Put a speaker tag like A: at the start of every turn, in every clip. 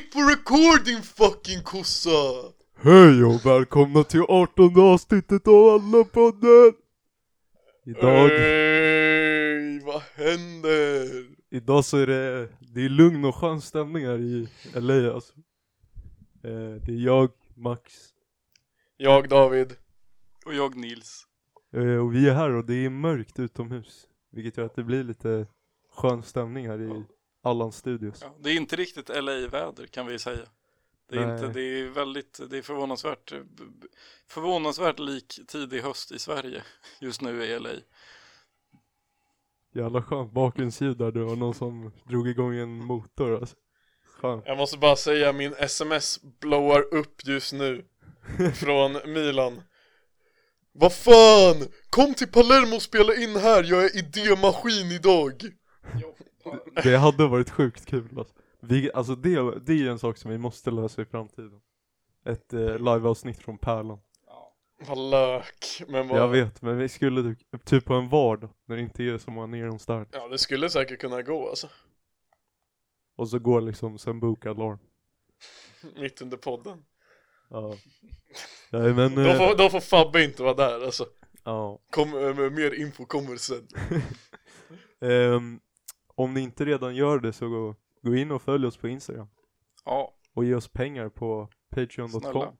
A: for recording fucking kossa!
B: Hej och välkomna till 18 avsnittet av alla podden! Idag,
A: Eh. Ey, vad händer?
B: idag så är det, det är lugn och skön stämning här i LA alltså. Eh, det är jag, Max,
A: Jag David.
C: Och jag Nils.
B: eh, och vi är här och det är mörkt utomhus. Vilket gör att det blir lite skön stämning här i Allans studios.
C: Ja, det är inte riktigt LA-väder kan vi säga. Det är,
B: Nej.
C: inte, det är väldigt, det är förvånansvärt, eh, b- b- förvånansvärt lik tidig höst i Sverige just nu i LA.
B: Jävla skönt bakgrundsljud där, det var någon som drog igång en motor alltså. Skönt.
A: Jag måste bara säga, min sms blowar upp just nu. Från Milan. Vad fan! Kom till Palermo och spela in här, jag är idémaskin idag!
B: Det hade varit sjukt kul alltså. Vi, alltså det, det är ju en sak som vi måste lösa i framtiden. Ett eh, liveavsnitt från Pärlan.
A: Vad lök, men vad...
B: Jag vet, men vi skulle typ, typ på en vardag när det inte är så många ner om start.
A: Ja, det skulle säkert kunna gå alltså.
B: Och så går liksom sen boka alarm.
A: Mitt under podden.
B: Ja. Nej men,
A: Då
B: eh,
A: får, då får Fabbe inte vara där alltså.
B: ja.
A: Kom, eh, mer info kommer sen.
B: Ehm, om ni inte redan gör det så gå, gå in och följ oss på Instagram.
C: Ja,
B: Och ge oss pengar på patreon.com
C: Snälla.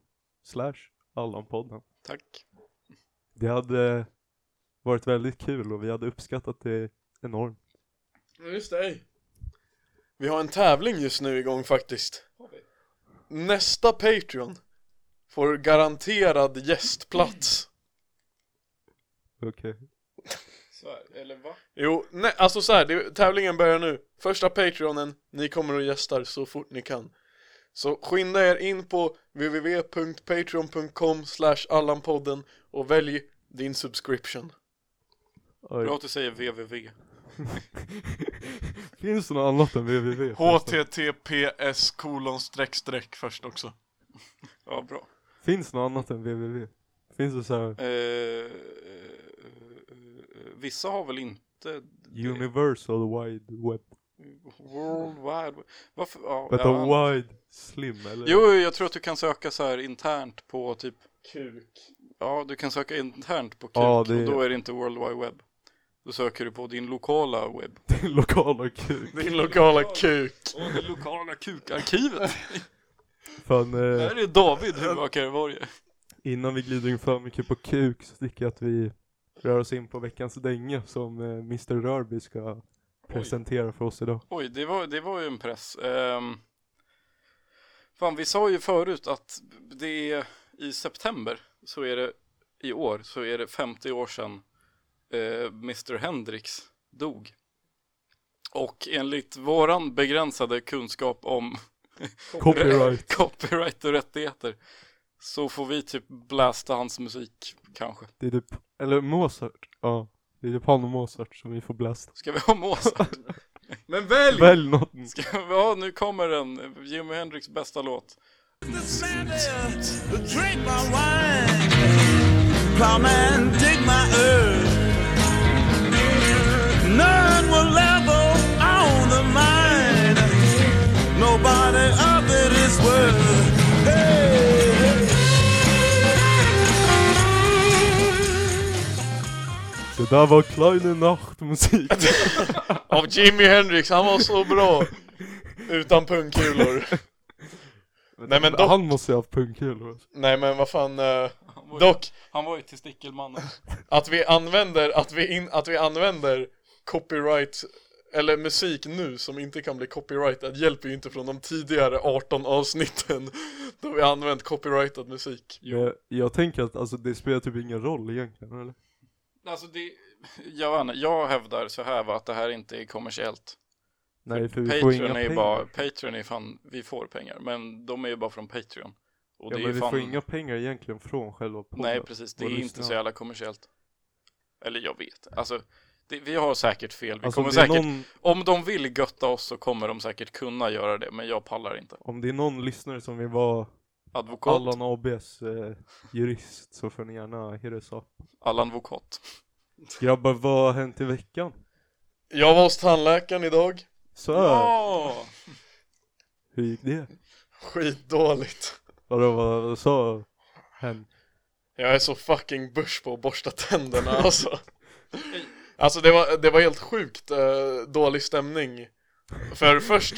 B: slash Allanpodden.
C: tack.
B: Det hade varit väldigt kul och vi hade uppskattat det enormt.
A: Just det. Vi har en tävling just nu igång faktiskt. Nästa Patreon får garanterad gästplats.
B: Okej.
C: eller va?
A: Jo, nej, alltså så här, det, tävlingen börjar nu. Första Patreonen, ni kommer och gästar så fort ni kan. Så skynda er in på www.patreon.com slash allanpodden och välj din subscription.
B: Oj.
C: Bra att du säger www.
B: Finns det något annat än www?
A: HTTPS kolon streck streck först också.
C: Ja, bra.
B: Finns det något annat än www? Finns det så här
C: Eh, eh, eh, vissa har väl inte det.
B: universal wide web?
C: World Wide Web. Varför? Ja,
B: Vänta,
C: ja.
B: wide slim eller?
C: Jo, jag tror att du kan söka så här internt på typ
A: Kuk.
C: Ja, du kan söka internt på kuk
B: Ja, det-
C: och då är det inte World Wide Web. Då söker du på din lokala webb.
B: Din lokala kuk.
A: Din lokala kuk.
C: Åh, det lokala kukarkivet!
B: Fan, eh,
C: Här är David Huvudakvarieborg.
B: innan vi glider in för mycket på kuk så tycker jag att vi rör oss in på veckans dänga som eh, Mr Rörby ska presentera för oss idag.
C: Oj, det var, det var ju en press. Ehm, fan, vi sa ju förut att det är i september så är det i år så är det 50 år sedan eh, Mr Hendrix dog. Och enligt våran begränsade kunskap om
B: Copyright.
C: copyright och rättigheter så får vi typ blästa hans musik kanske.
B: Det är typ, eller Mozart. Ja. Det är typ han och Mozart som vi får blästa.
C: Ska vi ha Mozart?
A: Men välj!
B: Välj något.
C: Ska vi ha, nu kommer den, Jimi Hendrix bästa låt.
D: The Sanders, drink my wine, plowman, dig my earth. None will level on the mine, nobody of it is worth. Hey,
B: Det där var Kleine Nachtmusik.
A: Av Jimi Hendrix, han var så bra! Utan pungkulor. Nej, men dock-
B: Han måste ju ha haft pungkulor. alltså.
A: Nej men vad fan, eh,
C: Han var ju,
A: dock
C: han var ju testikelmannen.
A: att vi använder, att vi, in, att vi använder copyright, eller musik nu som inte kan bli copyrightad hjälper ju inte från de tidigare 18 avsnitten då vi har använt copyrightad musik.
B: Jag, jag tänker att alltså, det spelar typ ingen roll egentligen eller?
C: Alltså det, jag, vet inte, jag hävdar så här va, att det här inte är kommersiellt.
B: Nej för vi får inga
C: Patreon är ju
B: pengar.
C: bara, Patreon är fan, vi får pengar, men de är ju bara från Patreon. Och
B: ja,
C: det är
B: men
C: ju
B: vi
C: fan,
B: får inga pengar egentligen från själva podden.
C: nej precis, det
B: våra
C: är inte
B: lyssnare.
C: så jävla kommersiellt. Eller jag vet, alltså det, vi har säkert fel, vi
B: Alltså, om,
C: kommer
B: det är
C: säkert
B: någon,
C: Om de vill götta oss så kommer de säkert kunna göra det, men jag pallar inte.
B: om det är någon lyssnare som vill vara
C: Advokat, Allan,
B: Allan ABs eh, jurist så får ni gärna hyra oss upp.
C: Allan Vokott.
B: Grabbar vad har hänt i veckan? Äh.
A: Jag var hos tandläkaren idag,
B: Så
C: Ja!
B: Hur gick det?
A: Skitdåligt.
B: Vadå, vad, vad sa hen?
A: Jag är så fucking börs på att borsta tänderna alltså. Alltså det var, det var helt sjukt eh, dålig stämning. För först,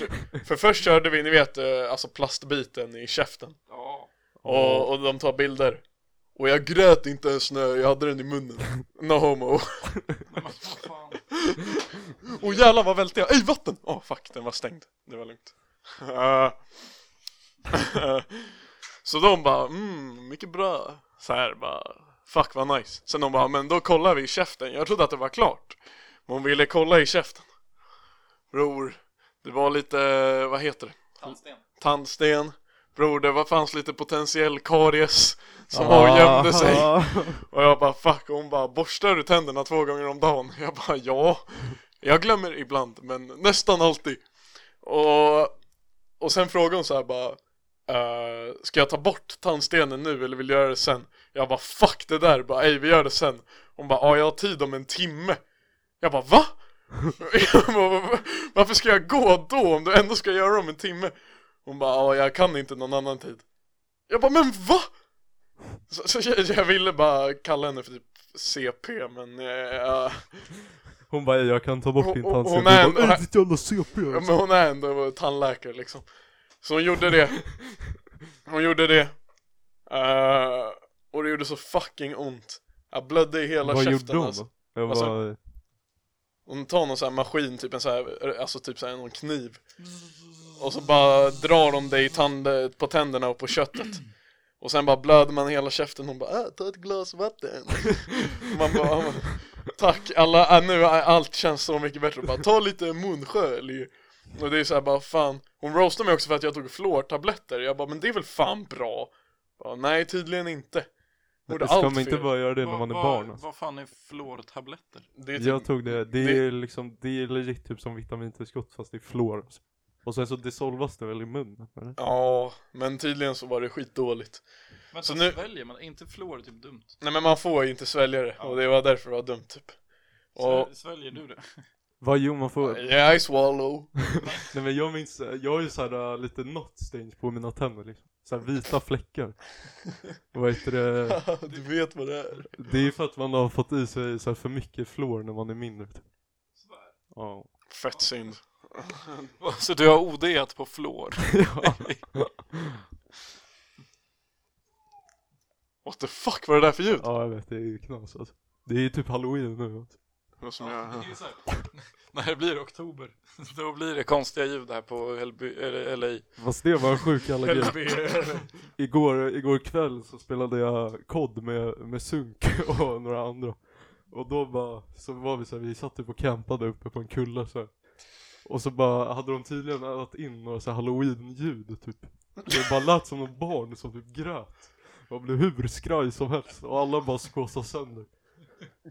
A: för först körde vi, ni vet, eh, alltså plastbiten i käften.
C: Ja.
A: Och, och de tar bilder. Och jag grät inte ens när jag hade den i munnen. No homo.
C: Men vad fan.
A: Och jävlar vad välte jag, ej vatten! Åh fuck, den var stängd. Det var lugnt. Eh, så de bara, mm, mycket bra. Så här bara, fuck vad nice. Sen de bara, men då kollar vi i käften. Jag trodde att det var klart. Men hon ville kolla i käften. Bror, det var lite, vad heter det?
C: Tandsten.
A: Tandsten. Bror, det var, fanns lite potentiell karies som var och gömde sig.
B: Ah.
A: Och jag bara fuck, och hon bara borstar du tänderna två gånger om dagen? Jag bara ja Jag glömmer ibland, men nästan alltid Och, och sen frågade hon så här bara eh, Ska jag ta bort tandstenen nu eller vill du göra det sen? Jag bara fuck det där, bara ej vi gör det sen Hon bara ja jag har tid om en timme Jag bara va? Jag bara, Varför ska jag gå då om du ändå ska göra det om en timme? Hon bara ja jag kan inte någon annan tid Jag bara men va? Så, så jag, jag ville bara kalla henne för typ CP men, eh, ja,
B: Hon bara, jag kan ta bort din
A: Hon- hon-
B: tandsten.
A: hon
B: Hon
A: är
B: bara,
A: en-
B: "Ey, ditt jävla CP
A: men
B: alltså.
A: hon är ändå tandläkare liksom Så hon gjorde det Hon gjorde det Eh, Och det gjorde så fucking ont Jag blödde i hela
B: Vad
A: käften
B: gjorde hon?
A: Alltså.
B: Jag
A: Alltså-
B: bara,
A: Hon tar någon sån här maskin, typ en sån här, alltså typ så här, någon kniv Och så bara drar de dig i tand, på tänderna och på köttet Och sen bara blöder man hela käften, hon bara äh, ta ett glas vatten Man bara "Ah, Tack, alla, äh, nu äh, allt känns så mycket bättre, bara ta lite munskölj Och det är så här bara fan Hon roastade mig också för att jag tog fluortabletter, jag bara men det är väl fan bra bara, Nej tydligen inte Gjorde
B: ska
A: allt
B: man inte
A: fel.
B: bara göra det när
C: Vad-
B: man är
C: vad-
B: barn alltså.
C: Vad fan är fluortabletter?
A: Det är typ-
B: Jag tog det, det
A: det-
B: är liksom, det är legit typ som vitamintillskott fast i fluor. Alltså. Och sen så dissolvas det väl i munnen? Eller?
A: Ja, men tydligen så var det skitdåligt
C: Vänta,
A: Så
C: så
A: nu-
C: nu... sväljer man? Är inte fluor typ dumt?
A: Nej men man får ju inte svälja det och det var därför det var dumt typ och,
C: Svä- Sväljer du det?
B: Vad jo man får,
A: Yeah I swallow
B: nej men jag minns, jag har ju såhär äh, lite knot stains på mina tänder liksom. Såhär vita fläckar. Och vad heter det,
A: Du vet vad det är
B: det är för att man har fått i sig så här för mycket fluor när man är mindre. Typ. Ja.
A: Fett synd
C: Så du har ODat på fluor?
A: What the fuck var det där för ljud?
B: ja jag vet, det är ju knas alltså. Det är ju typ halloween nu alltså.
A: Det var som
C: Ja,
A: jag...
C: det är så här. När det blir oktober, då blir det konstiga ljud här på Helby, eller LA.
B: Fast det var en sjuk allergi.
A: Helvete.
B: Igår, igår kväll så spelade jag kod med, med Sunk och några andra. Och då bara, så var vi så här, vi satt typ och campade uppe på en kulle så här. Och så bara hade de tydligen addat in några så här halloween-ljud typ. Det bara lät som någon barn som typ grät. Och blev hur skraj som helst och alla bara skåsade sönder.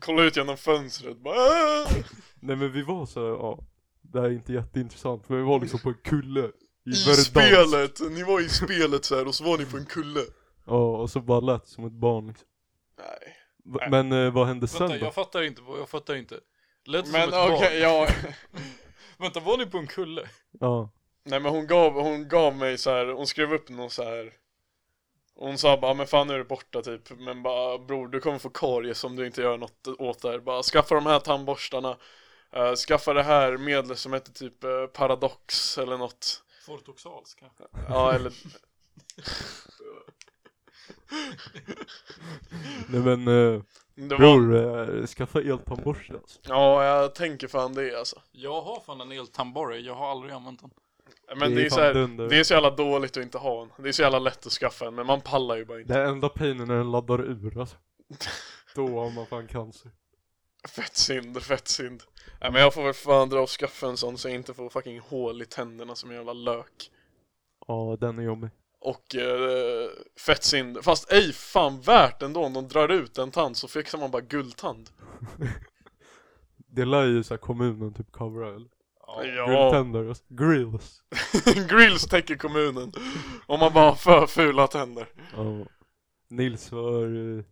A: Kolla ut genom fönstret bara "Äh!" "Aah!"
B: Nej men vi var så här, ja. Det här är inte jätteintressant men vi var liksom på en kulle. I,
A: I
B: Verdansk.
A: spelet! Ni var i spelet så här och så var ni på en kulle
B: Ja och så bara lät det som ett barn liksom.
A: Nej
B: V- Men eh, vad hände sen
C: Vänta,
B: då?
C: jag fattar inte, vad- jag fattar inte. Lät det
A: Men
C: som ett
A: okej, ja
C: barn? Vänta, var ni på en kulle?
B: Ja.
A: Nej men hon gav, hon gav mig så här, hon skrev upp någon så här. Hon sa bara, "Ah, men fan nu är det borta typ Men bara, bror du kommer få karies om du inte gör något åt det här Bara skaffa de här tandborstarna eh, Skaffa det här medlet som heter typ eh, Paradox eller något
C: Fortoxals kanske?
A: Ja eller
B: Nej men eh,
A: det var,
B: Bror, eh, skaffa eltandborste alltså.
A: Ja jag tänker fan det alltså
C: Jag har fan en eltandborre, jag har aldrig använt den.
A: Men det är,
B: fan
A: så här,
B: dunder.
A: det är så jävla dåligt att inte ha en Det är så jävla lätt att skaffa en men man pallar ju bara inte
B: Den enda painen när den laddar ur alltså. Då har man fan cancer.
A: Fett synd, fett synd Nej men jag får väl fan dra och skaffa en sån så jag inte får fucking hål i tänderna som en jävla lök
B: Ja, den är jobbig.
A: Och eh, fett synd. Fast ej fan värt ändå om de drar ut en tand så fixar man bara guldtand.
B: Det lär ju såhär kommunen typ covera eller?
A: Ja,
B: Guldtänder alltså. Grills.
A: grills täcker kommunen. Om man bara har för fula tänder.
B: Ja. Nils var eh,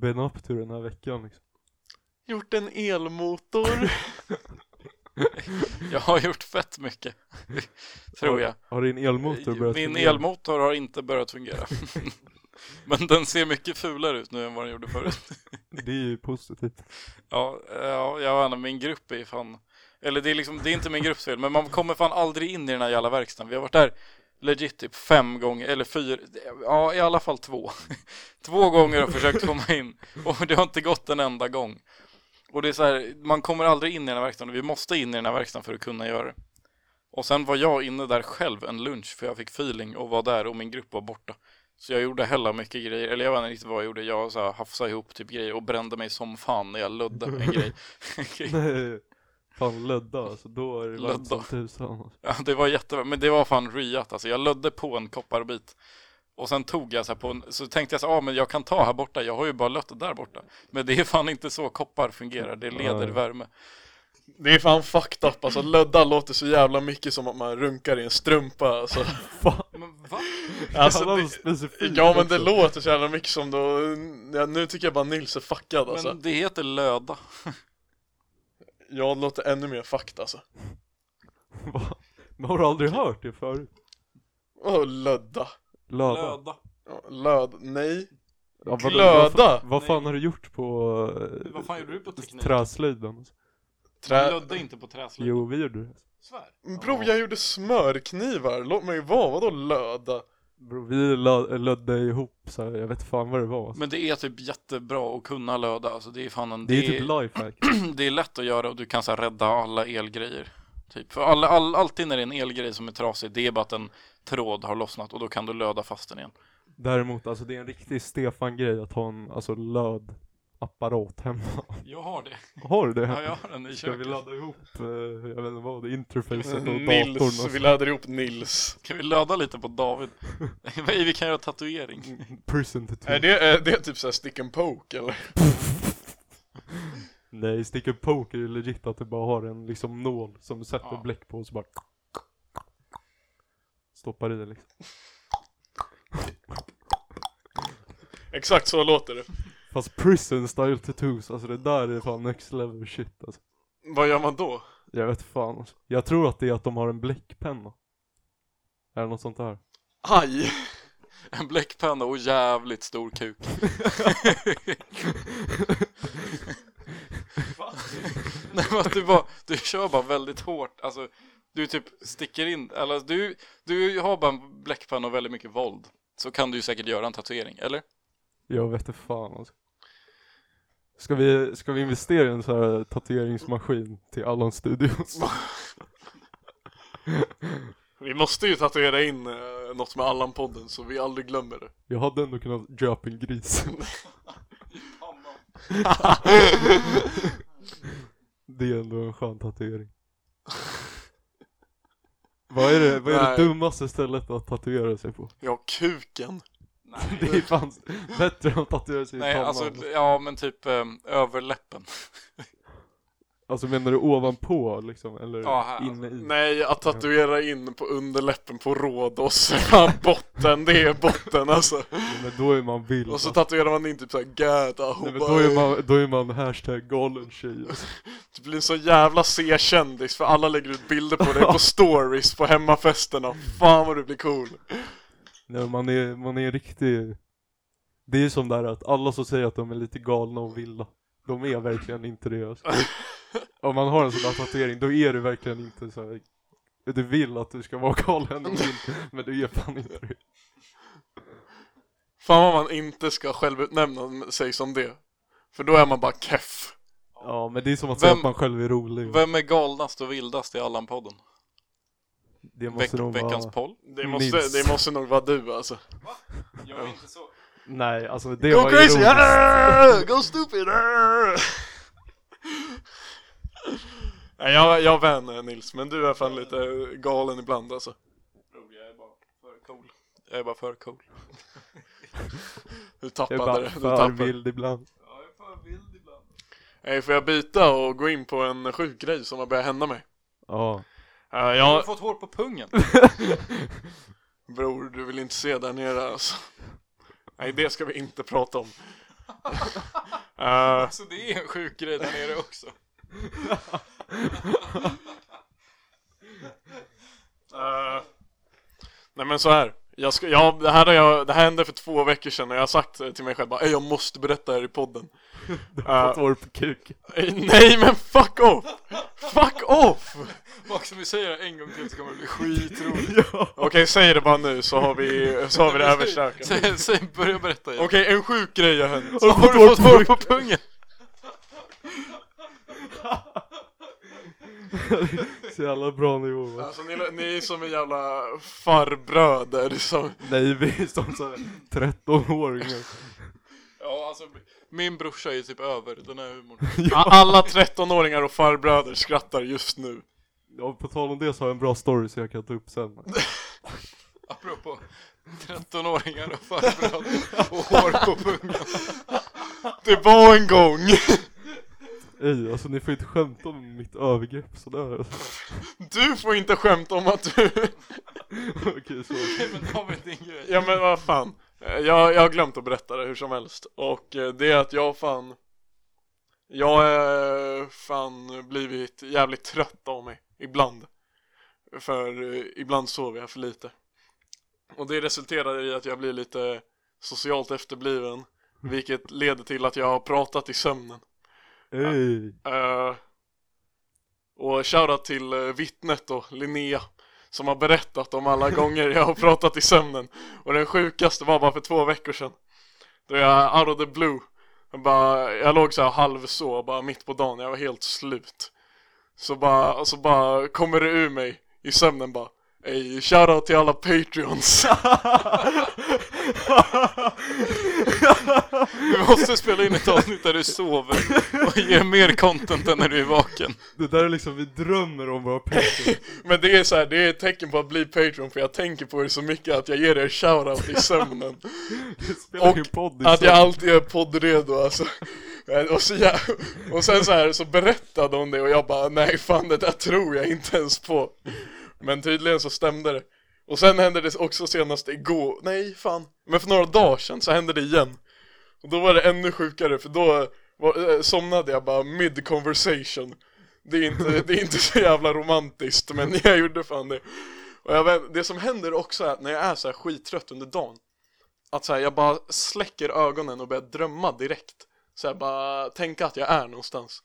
B: been up to den här veckan liksom.
A: Gjort en elmotor.
C: Jag har gjort fett mycket, tror jag.
B: Har din elmotor
A: Eh,
B: börjat
C: Min
B: fungera?
C: elmotor har inte börjat fungera. Men den ser mycket fulare ut nu än vad den gjorde förut.
B: Det är ju positivt.
C: Ja, ja jag vet inte, min grupp är ju fan... Eller det är liksom, det är inte min grupps fel, men man kommer fan aldrig in i den här jävla verkstaden. Vi har varit där legit typ fem gånger, eller fyra, ja i alla fall två. Två gånger har jag försökt komma in och det har inte gått en enda gång. Och det är så här, man kommer aldrig in i den här verkstaden, vi måste in i den här verkstaden för att kunna göra det. Och sen var jag inne där själv en lunch för jag fick feeling och var där och min grupp var borta. Så jag gjorde hella mycket grejer, eller jag vet inte riktigt vad jag gjorde, jag så här, hafsade ihop typ grejer och brände mig som fan när jag lödde en grej.
B: Nej. Fan lödda alltså, då är det varmt som
C: Lödda.
B: tusan. alltså.
C: Ja, det var jättebra, men det var fan ryat alltså. Jag lödde på en kopparbit. Och sen tog jag så här på en, så tänkte jag så här, ah, men jag kan ta här borta, jag har ju bara lött där borta. Men det är fan inte så koppar fungerar, det leder
B: Nej.
C: värme.
A: Det är fan fucked up alltså, lödda låter så jävla mycket som att man runkar i en strumpa alltså,
B: Fan,
C: Men va?
A: alltså
B: jävlar vad
A: det,
B: specifikt
A: Ja men det
B: också.
A: låter så jävla mycket som då, ja, nu tycker jag bara Nils är fuckad alltså
C: Men det heter löda.
A: Ja det låter ännu mer fucked alltså
B: Va? Men har du aldrig hört det förut?
A: Åh lödda
B: Löda?
C: Löda.
A: Ja, Löd, nej
B: Ja, vadå?
A: Klöda?
B: Vad, fa- vad fan
C: Nej.
B: har du gjort på eh,
C: Vad fan gjorde du på teknik?
B: träslöjden? alltså?
C: Du
A: Trä...
C: lödde inte på träslöjd.
B: Jo, vi gjorde det.
C: Svär.
A: Bro Mm, jag gjorde smörknivar, låt mig vara, vadå löda?
B: Bro, vi lö- lödde ihop så här, jag vet fan vad det var. Alltså.
C: Men det är typ jättebra att kunna löda, alltså det är fan en,
B: Det är typ lifehack.
C: det är lätt att göra och du kan så här, rädda alla elgrejer. Typ. För alla, all, alltid när det är en elgrej som är trasig, det är bara att en tråd har lossnat och då kan du löda fast den igen.
B: Däremot, alltså det är en riktig Stefan-grej att ha en alltså, löd apparat hemma.
C: Jag har det.
B: Har du det?
C: Ja, jag har den i
B: Ska vi
C: köket.
B: ladda ihop, eh, jag vet inte vad, det är interfacet och
C: Mm,
B: datorn? och
A: Nils,
B: så-
A: vi laddar ihop Nils
C: Kan vi löda lite på David? Nej, vi kan göra tatuering.
B: Prison to
A: Är det, är det typ såhär stick and poke eller?
B: Nej, stick and poke är ju legit att du bara har en liksom nål som du sätter
C: Ja.
B: bläck på och så bara Stoppar i det liksom.
A: Exakt så låter det
B: Fast prison style tattoos, alltså det där är fan next level shit alltså.
A: Vad gör man då?
B: Jag vet fan alltså. Jag tror att det är att de har en bläckpenna. Är det något sånt där?
A: Aj!
C: En bläckpenna och jävligt stor kuk. Nej men att du bara, du kör bara väldigt hårt, alltså du typ sticker in, eller du, du har bara en bläckpenna och väldigt mycket våld. Så kan du ju säkert göra en tatuering, eller?
B: Jag vet inte fan alltså. Ska vi, ska vi investera i en sån här tatueringsmaskin till Allan Studios?
A: Vi måste ju tatuera in eh, något med Allan-podden så vi aldrig glömmer det
B: Jag hade ändå kunnat köpa en gris. Det är ändå en skön tatuering. vad är det, vad är det
A: Nej.
B: dummaste stället att tatuera sig på?
A: Ja, kuken
B: Det är fan bättre än att tatuera sig i
C: Nej,
B: pannan.
C: alltså,
B: Alltså,
C: ja men typ eh, överläppen.
B: Alltså, menar du ovanpå liksom, eller
C: Ja, här,
B: inne i?
A: Nej, att tatuera in på underläppen på Rhodos Ja, botten, det är botten alltså
B: Men då är man vild.
A: Och så
B: alltså.
A: tatuerar man in typ såhär gäda
B: Nej,
A: och
B: men då är
A: bara
B: man, då är man hashtag galen tjej. Alltså.
A: Det blir en så jävla C-kändis för alla lägger ut bilder på dig på stories på hemmafesterna Fan vad du blir cool
B: Nej, men man är, man är en riktig... Det är ju som där att alla som säger att de är lite galna och vilda, de är verkligen inte det alltså. Om man har en sån där tatuering, då är du verkligen inte så här. Du vill att du ska vara galen och vild, men du är fan inte det.
A: Fan vad man inte ska självutnämna sig som det För då är man bara keff
B: Ja, men det är som att säga
C: Vem-
B: att man själv är rolig.
C: Vem är galnast och vildast i Allan-podden?
B: Det måste
C: Veck,
B: nog
C: veckans
B: vara...
C: poll?
A: Det måste,
B: Nils.
A: det måste nog vara du alltså
C: Jag är inte så.
B: Nej, alltså det
A: Go
B: var
A: crazy!
B: ironiskt.
A: ah! Go stupid! ah! Nej jag, jag vänner Nils, men du är fan lite galen ibland alltså
C: Jag är bara för cool. Jag är bara för cool.
A: Du
B: Jag är
A: tappade
B: bara
A: det, du tappade
B: för
A: det
B: vild ibland.
C: Jag är för vild ibland.
A: Nej, Eh, Får jag byta och gå in på en sjuk grej som har börjat hända mig?
B: Ja.
A: Eh,
C: Jag har
A: jag,
C: fått hår på pungen.
A: bror du vill inte se där nere alltså Nej det ska vi inte prata om Eh,
C: Alltså, Så det är en sjuk grej där nere också.
A: Eh, nej men så här. Jag ska, ja, det, här har jag, det här hände för två veckor sedan och jag har sagt eh, till mig själv bara, "Ey, jag måste berätta det här i podden. Eh,
B: Tår på kuken.
A: eh, nej men fuck off! Fuck off!
C: Max, om vi säger det en gång till så kommer det bli skitroligt.
B: Ja.
A: Okej, säg det bara nu så har vi, så har vi det överstökat.
C: Säg, säg, börja berätta igen.
A: Okej, en sjuk grej har hänt.
B: Har du
A: Har
B: fått
A: du fått
B: hår
A: hår
B: på
A: på pungen?
B: Så jävla bra nivå va?
A: Alltså ni, ni är som en jävla farbröder som...
B: Nej vi är som såhär 13-åringar.
C: Ja, alltså, min brorsa är typ över den här humorn.
A: Alla 13-åringar och farbröder skrattar just nu.
B: Ja, på tal om det så har jag en bra story så jag kan ta upp sen.
C: Apropå 13-åringar och farbröd och hår på pungen.
A: Det var en gång!
B: Ej, alltså ni får inte skämta om mitt övergrepp sådär.
A: Du får inte skämta om att du...
B: Okej så.
C: Nej, men David, din grej.
A: Ja men vad fan. Eh, Jag, jag har glömt att berätta det hur som helst. Och eh, det är att jag fan... Jag är fan blivit jävligt trött av mig. Ibland. För eh, ibland sover jag för lite. Och det resulterar i att jag blir lite socialt efterbliven. Vilket leder till att jag har pratat i sömnen.
B: Ej.
A: Eh, och shoutout till eh, vittnet då, Linnea, som har berättat om alla gånger jag har pratat i sömnen. Och den sjukaste var bara för två veckor sedan. Då jag out of the blue. Jag, bara, jag låg så här halvså, bara mitt på dagen, jag var helt slut. Så bara, och så bara kommer det ur mig i sömnen bara Ey, shoutout till alla patreons!
C: Vi måste spela in ett avsnitt där du sover och ger mer content än när du är vaken.
B: Det där är liksom, vi drömmer om våra pengar.
A: Men det är så här, det är ett tecken på att bli patreon för jag tänker på det så mycket att jag ger er shoutout i sömnen.
B: Vi spelar
A: Och
B: in podd i
A: Att jag
B: sömn.
A: alltid är poddredo alltså. Och, så jag, och sen så här så berättade hon det och jag bara nej fan det där tror jag inte ens på. Men tydligen så stämde det. Och sen hände det också senast igår, nej fan. Men för några dagar sedan så hände det igen. Och då var det ännu sjukare för då var, eh, somnade jag bara mid conversation. Det är, inte, det är inte så jävla romantiskt men jag gjorde fan det. Och jag vet, det som händer också är att när jag är så här skittrött under dagen att så här, jag bara släcker ögonen och börjar drömma direkt. Så jag bara tänka att jag är någonstans.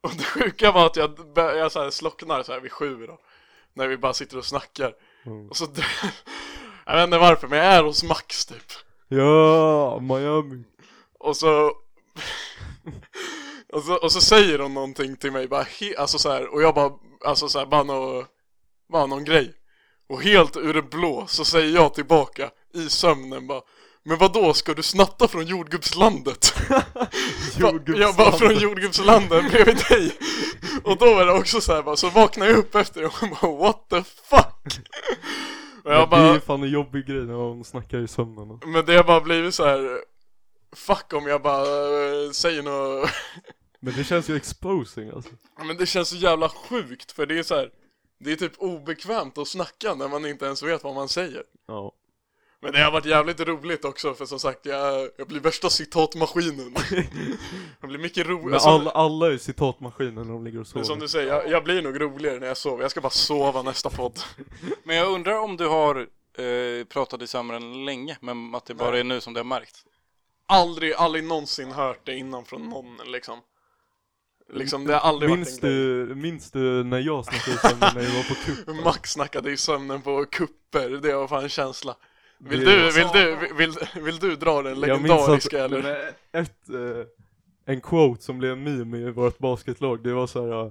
A: Och det sjuka var att jag, bör- jag så här slocknar så här vid sju då. När vi bara sitter och snackar.
B: Mm.
A: Och så, dr- jag vet inte varför men jag är hos Max typ.
B: Ja, Miami.
A: Och så och så, och så säger hon någonting till mig bara he, alltså så här, och jag bara alltså så här, bara, nå, bara någon grej och helt ur det blå så säger jag tillbaka i sömnen bara men vad då ska du snatta från jordgubbslandet?
B: Jordgubbslandet.
A: Jag bara från jordgubbslandet bredvid dig Och då var det också så här bara, så vaknade jag upp efter det och bara what the fuck? Och jag
B: Det är
A: bara,
B: ju fan en jobbig grej när man snackar i sömnen.
A: men det har bara blivit så här fuck om jag bara eh, säger något
B: Men det känns ju exposing alltså.
A: Ja, Men det känns så jävla sjukt för det är så här. Det är typ obekvämt att snacka när man inte ens vet vad man säger
B: Ja.
A: Men det har varit jävligt roligt också för som sagt jag, jag blir värsta citatmaskinen Jag blir mycket
B: Men
A: roligare
B: alla, alla är ju citatmaskiner när de ligger och
A: som, som
B: sover.
A: du säger, jag, jag blir nog roligare när jag sover Jag ska bara sova nästa podd
C: Men jag undrar om du har eh, pratat i sömnen länge, men att det bara
A: Nej.
C: är nu som du har märkt.
A: Aldrig, aldrig någonsin hört det innan från någon liksom Liksom det har aldrig
B: Minns
A: varit en grej
B: du, minns du när jag snackade i sömnen när jag var på kupp?
A: Max snackade i sömnen på kupper, det var fan en känsla Vill
B: Det-
A: du, vill du, vill, vill, vill du dra den
B: Jag minns
A: legendariska
B: att-
A: eller?
B: men Ett, eh, en quote som blev en meme i vårt basketlag, det var så här.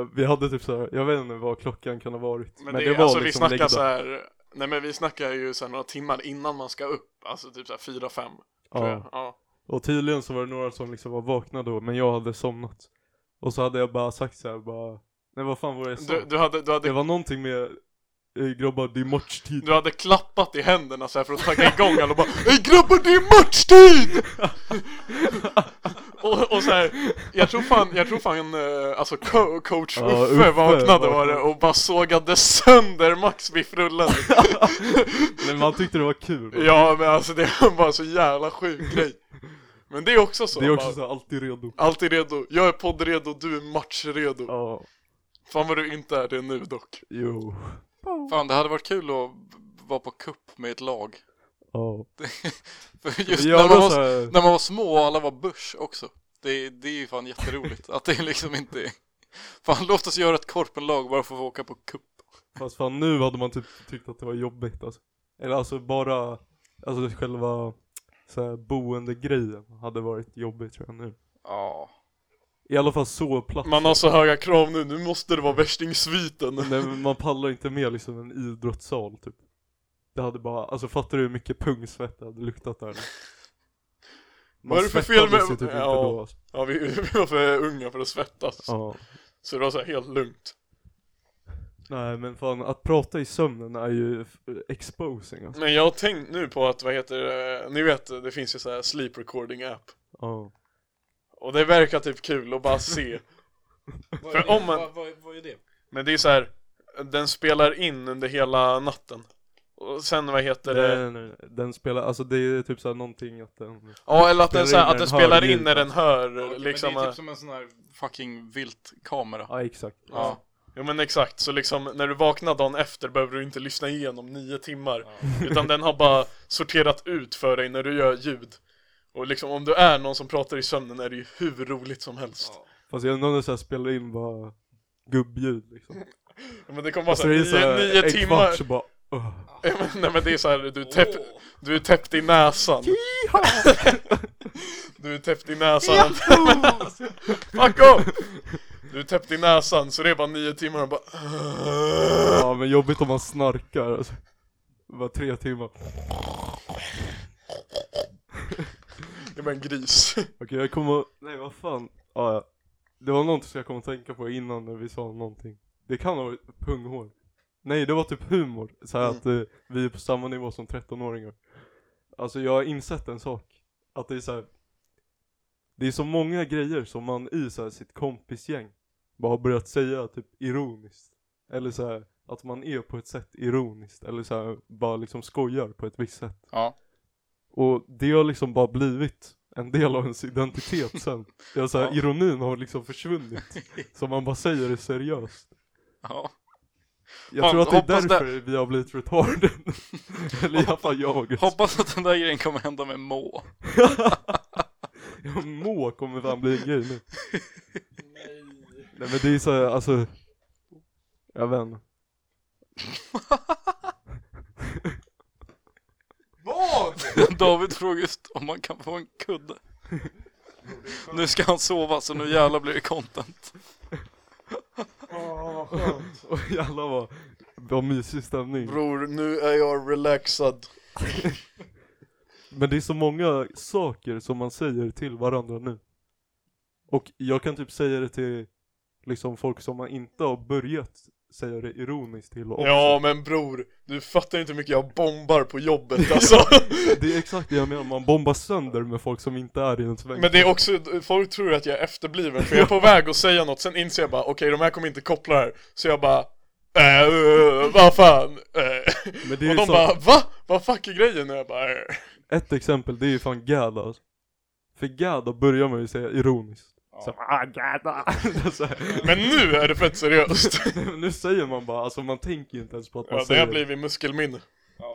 B: eh, vi hade typ så här, jag vet inte vad klockan kan ha varit.
A: Men, det, är- alltså,
B: var liksom
A: vi snackar
B: legendar-
A: så här, nej men vi snackar ju så här några timmar innan man ska upp, alltså typ så här 4-5 tror
B: ja.
A: jag. Ja.
B: Och tydligen så var det några som liksom var vakna då, men jag hade somnat. Och så hade jag bara sagt så här, bara, nej vad fan var det jag sa?
A: Du, du, hade, du,
B: Det
A: hade,
B: var någonting med, eh, grabbar det är matchtid.
A: du hade klappat i händerna så här för att tagga igång alla och bara Ey grabbar det är matchtid! och, och så här, jag tror fan, jag tror fan eh, alltså co- coach
B: Ja,
A: Uffe,
B: Uffe
A: vaknade var det
B: vaknade.
A: och bara sågade sönder Max vid frullen
B: Men man tyckte det var kul.
A: Ja men alltså det var bara så jävla sjuk grej Men det är också så.
B: Det är också
A: bara,
B: så här, alltid redo.
A: Allt är redo. Jag är poddredo, du är matchredo.
B: Ja,
A: Fan vad du inte är det nu dock.
B: jo.
C: Fan, det hade varit kul att vara på kupp med ett lag.
B: Ja.
C: För
B: Vi
C: just
B: gör
C: när man,
B: så
C: var,
B: här-
C: när man var små och alla var börs också. Det, det är ju fan jätteroligt att det liksom inte är... Fan, låt oss göra ett korpenlag bara för att få åka på kupp.
B: Fast fan nu hade man typ tyckt att det var jobbigt alltså. Eller alltså bara, alltså själva så här, boendegrejen hade varit jobbigt tror jag nu.
C: Ja.
B: I alla fall så platt.
A: Man har så höga krav nu, nu måste det vara värstingsviten.
B: Nej, men man pallar inte med liksom en idrottssal typ. Det hade bara, alltså fattar du hur mycket pungsvett det hade luktat där? Man
A: Vad är det för fel
B: svettades
A: med-
B: ju Typ inte
A: Ja.
B: då, alltså.
A: Ja vi, vi var för unga för att svettas.
B: ja.
A: Så det var så här helt lugnt.
B: Nej men fan, att prata i sömnen är ju f- exposing alltså.
A: Men jag har tänkt nu på att, vad heter det, ni vet det finns ju så här sleep recording app.
B: Ja.
A: Och det verkar typ kul att bara se. För om man-
C: Vad, vad, vad är det?
A: Men det är så här, den spelar in under hela natten. Och sen vad heter det?
B: Nej, nej, nej. Den spelar, alltså det är typ såhär någonting att den
A: Ja eller att den, så
B: spelar in
A: här, att den
B: när den hör
A: spelar in
B: ljud.
A: när den hör
C: Ja, okej,
A: liksom.
C: men det är
A: Men
C: typ som en sån här fucking vilt kamera.
B: Ja exakt.
C: Ja.
A: Jo men exakt, så liksom när du vaknar dagen efter behöver du inte lyssna igenom nio timmar. Utan den har bara sorterat ut för dig när du gör ljud. Och liksom om du är någon som pratar i sömnen är det ju hur roligt som helst.
C: Ja.
B: Fast jag undrar om det såhär spelar in bara gubbljud liksom.
A: Ja, men det kommer vara
B: Så Alltså, det är
A: såhär,
B: såhär
A: nio, nio
B: en
A: timmar.
B: kvart så bara "Ugh."
A: Ja, men, nej men det är såhär, du, är täpp, du är täppt i näsan. du är täppt i näsan. Fuck off! Du är täppt i näsan så det är bara nio timmar och bara
B: Ja men jobbigt om man snarkar alltså. Bara tre timmar. Okej
A: Jag är en gris.
B: jag kommer, nej vad fan. Ja, ja. Det var någonting som jag kom att tänka på innan när vi sa någonting. Det kan ha varit punghår. Nej det var typ humor. Så här
A: Mm.
B: att eh, vi är på samma nivå som 13-åringar. Alltså jag har insett en sak. Att det är så här. Det är så många grejer som man i så här, sitt kompisgäng bara har börjat säga typ ironiskt. Eller så här, att man är på ett sätt ironiskt. Eller så här, bara liksom skojar på ett visst sätt.
C: Ja.
B: Och det har liksom bara blivit en del av ens identitet sen. Det är så här,
C: Ja.
B: Ironin har liksom försvunnit. Så man bara säger det seriöst.
C: ja.
B: Jag
C: Fan,
B: tror att det är
C: hoppas det-
B: därför vi har blivit retarded. Eller i alla fall jag.
C: Hoppas att den där grejen kommer hända med Må.
B: Må kommer fan bli en grej nu. Nej men det är så här, alltså. Jag vet inte.
C: David frågar just om man kan få en kudde. Nu ska han sova så nu jävlar blir det content.
B: Och jävlar vad, vad mysig stämning.
A: Bror, nu är jag relaxad.
B: Men det är så många saker som man säger till varandra nu. Och jag kan typ säga det till liksom folk som man inte har börjat säga det ironiskt till också.
A: Ja men bror, du fattar inte hur mycket jag bombar på jobbet alltså.
B: Det är exakt det jag menar, man bombar sönder med folk som inte är i ens väg.
A: Men det är också, folk tror att jag är efterbliven för jag är på väg att säga något, sen inser jag bara okej de här kommer inte koppla det här, så jag bara äh, eh, vad fan, eh.
B: Men
A: Och
B: det är ju
A: de
B: så-
A: bara va? Vad fuck är grejen? Och jag bara eh.
B: Ett exempel, det är ju fan Gada alltså. För Gada börjar man ju säga ironiskt. Så, ah, Gada. så här.
A: Men nu är det fett seriöst!
B: Men nu säger man bara, alltså man tänker ju inte ens på att man
A: Ja, det
B: säger
A: har
B: det.
A: blivit muskelminne,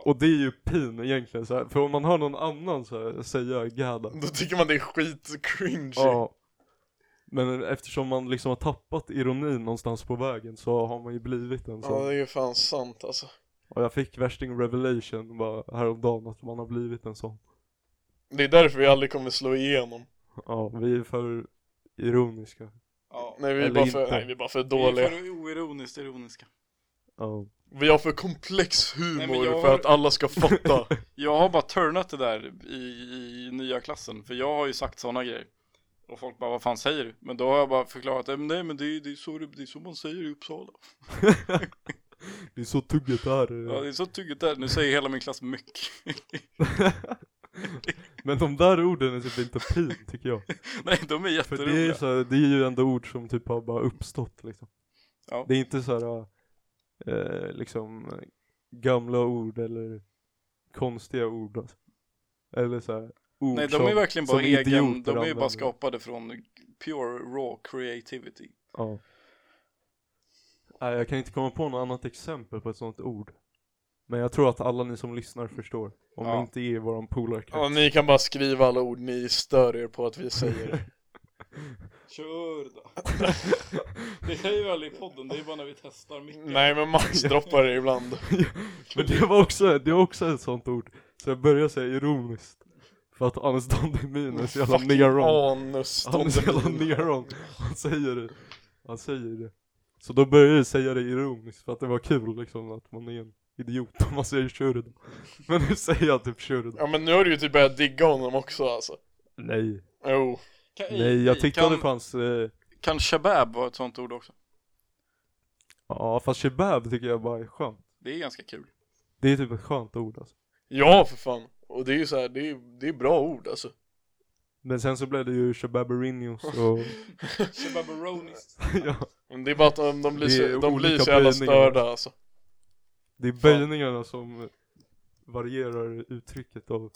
B: Och det är ju pin egentligen så här. för om man hör någon annan så här, säga Gada.
A: då tycker man det är skit cringy
B: Ja. Men eftersom man liksom har tappat ironin någonstans på vägen så har man ju blivit en
A: Ja
B: sån.
A: det är ju fan sant alltså
B: Och jag fick värsting revelation bara häromdagen att man har blivit en sån.
A: Det är därför vi aldrig kommer slå igenom
B: Ja, vi är för ironiska.
A: Nej vi är,
B: Eller
A: bara för,
B: inte.
A: nej, vi är bara för
C: Vi är
A: dåliga
C: för oironiskt ironiska.
B: Ja.
A: Vi har för komplex humor
C: Nej, men jag
A: för
C: har-
A: att alla ska fatta
C: Jag har bara turnat det där i, i nya klassen, för jag har ju sagt sådana grejer. Och folk bara, vad fan säger du? Men då har jag bara förklarat, "Eh, men nej men det är, det, är så, det det är så man säger i Uppsala.
B: Det är så tugget där.
C: Ja, det är så tugget där, nu säger hela min klass myck.
B: Men de där orden är typ inte pin tycker jag.
C: nej, de är
B: För det är, ju
C: jätteroliga.
B: så här, det är ju ändå ord som typ har bara uppstått liksom.
C: Ja.
B: Det är inte så här eh, liksom eh, gamla ord eller konstiga ord alltså. Eller så här
C: Nej, de är ju verkligen bara
B: som
C: egen,
B: idioter
C: de är ju bara
B: använder.
C: skapade från pure raw creativity.
B: Ja. Nej, jag kan inte komma på något annat exempel på ett sånt ord. Men jag tror att alla ni som lyssnar förstår. Om
C: Ja.
B: ni inte är i våran polarkrets.
A: Ja, ni kan bara skriva alla ord ni stör er på att vi säger
C: Kör då! det är ju aldrig i podden, det är bara när vi testar mycket.
A: Nej men Max droppar det ibland
B: Men det var också, det var också ett sånt ord. Så jag började säga ironiskt. För att Anis Don Demin är så jävla
A: Fucking
B: neron.
A: anus
B: Han är så jävla
A: Tommelin.
B: neron. Han säger det. Han säger det. Så då började jag säga det ironiskt för att det var kul liksom att man är en idiot om man säger shurd. Men nu säger jag typ shurd.
A: Ja men nu har du ju typ börjat digga honom också alltså
B: Nej.
A: Jo,
C: Kan,
B: Nej, jag tittade
C: kan,
B: på hans, eh,
C: Kan shabab vara ett sånt ord också?
B: ja fast shebab tycker jag bara är skönt.
C: Det är ganska kul.
B: Det är typ ett skönt ord alltså.
A: ja för fan Och det är ju så här, det är, det är bra ord alltså
B: Men sen så blev det ju shebaberinios och
C: Shababaronis.
B: ja.
A: Men det är bara att um, de, de blir,
B: Det är
A: så, de blir
B: olika
A: så jävla
B: böjningar.
A: störda alltså
B: Det är böjningarna som varierar uttrycket av,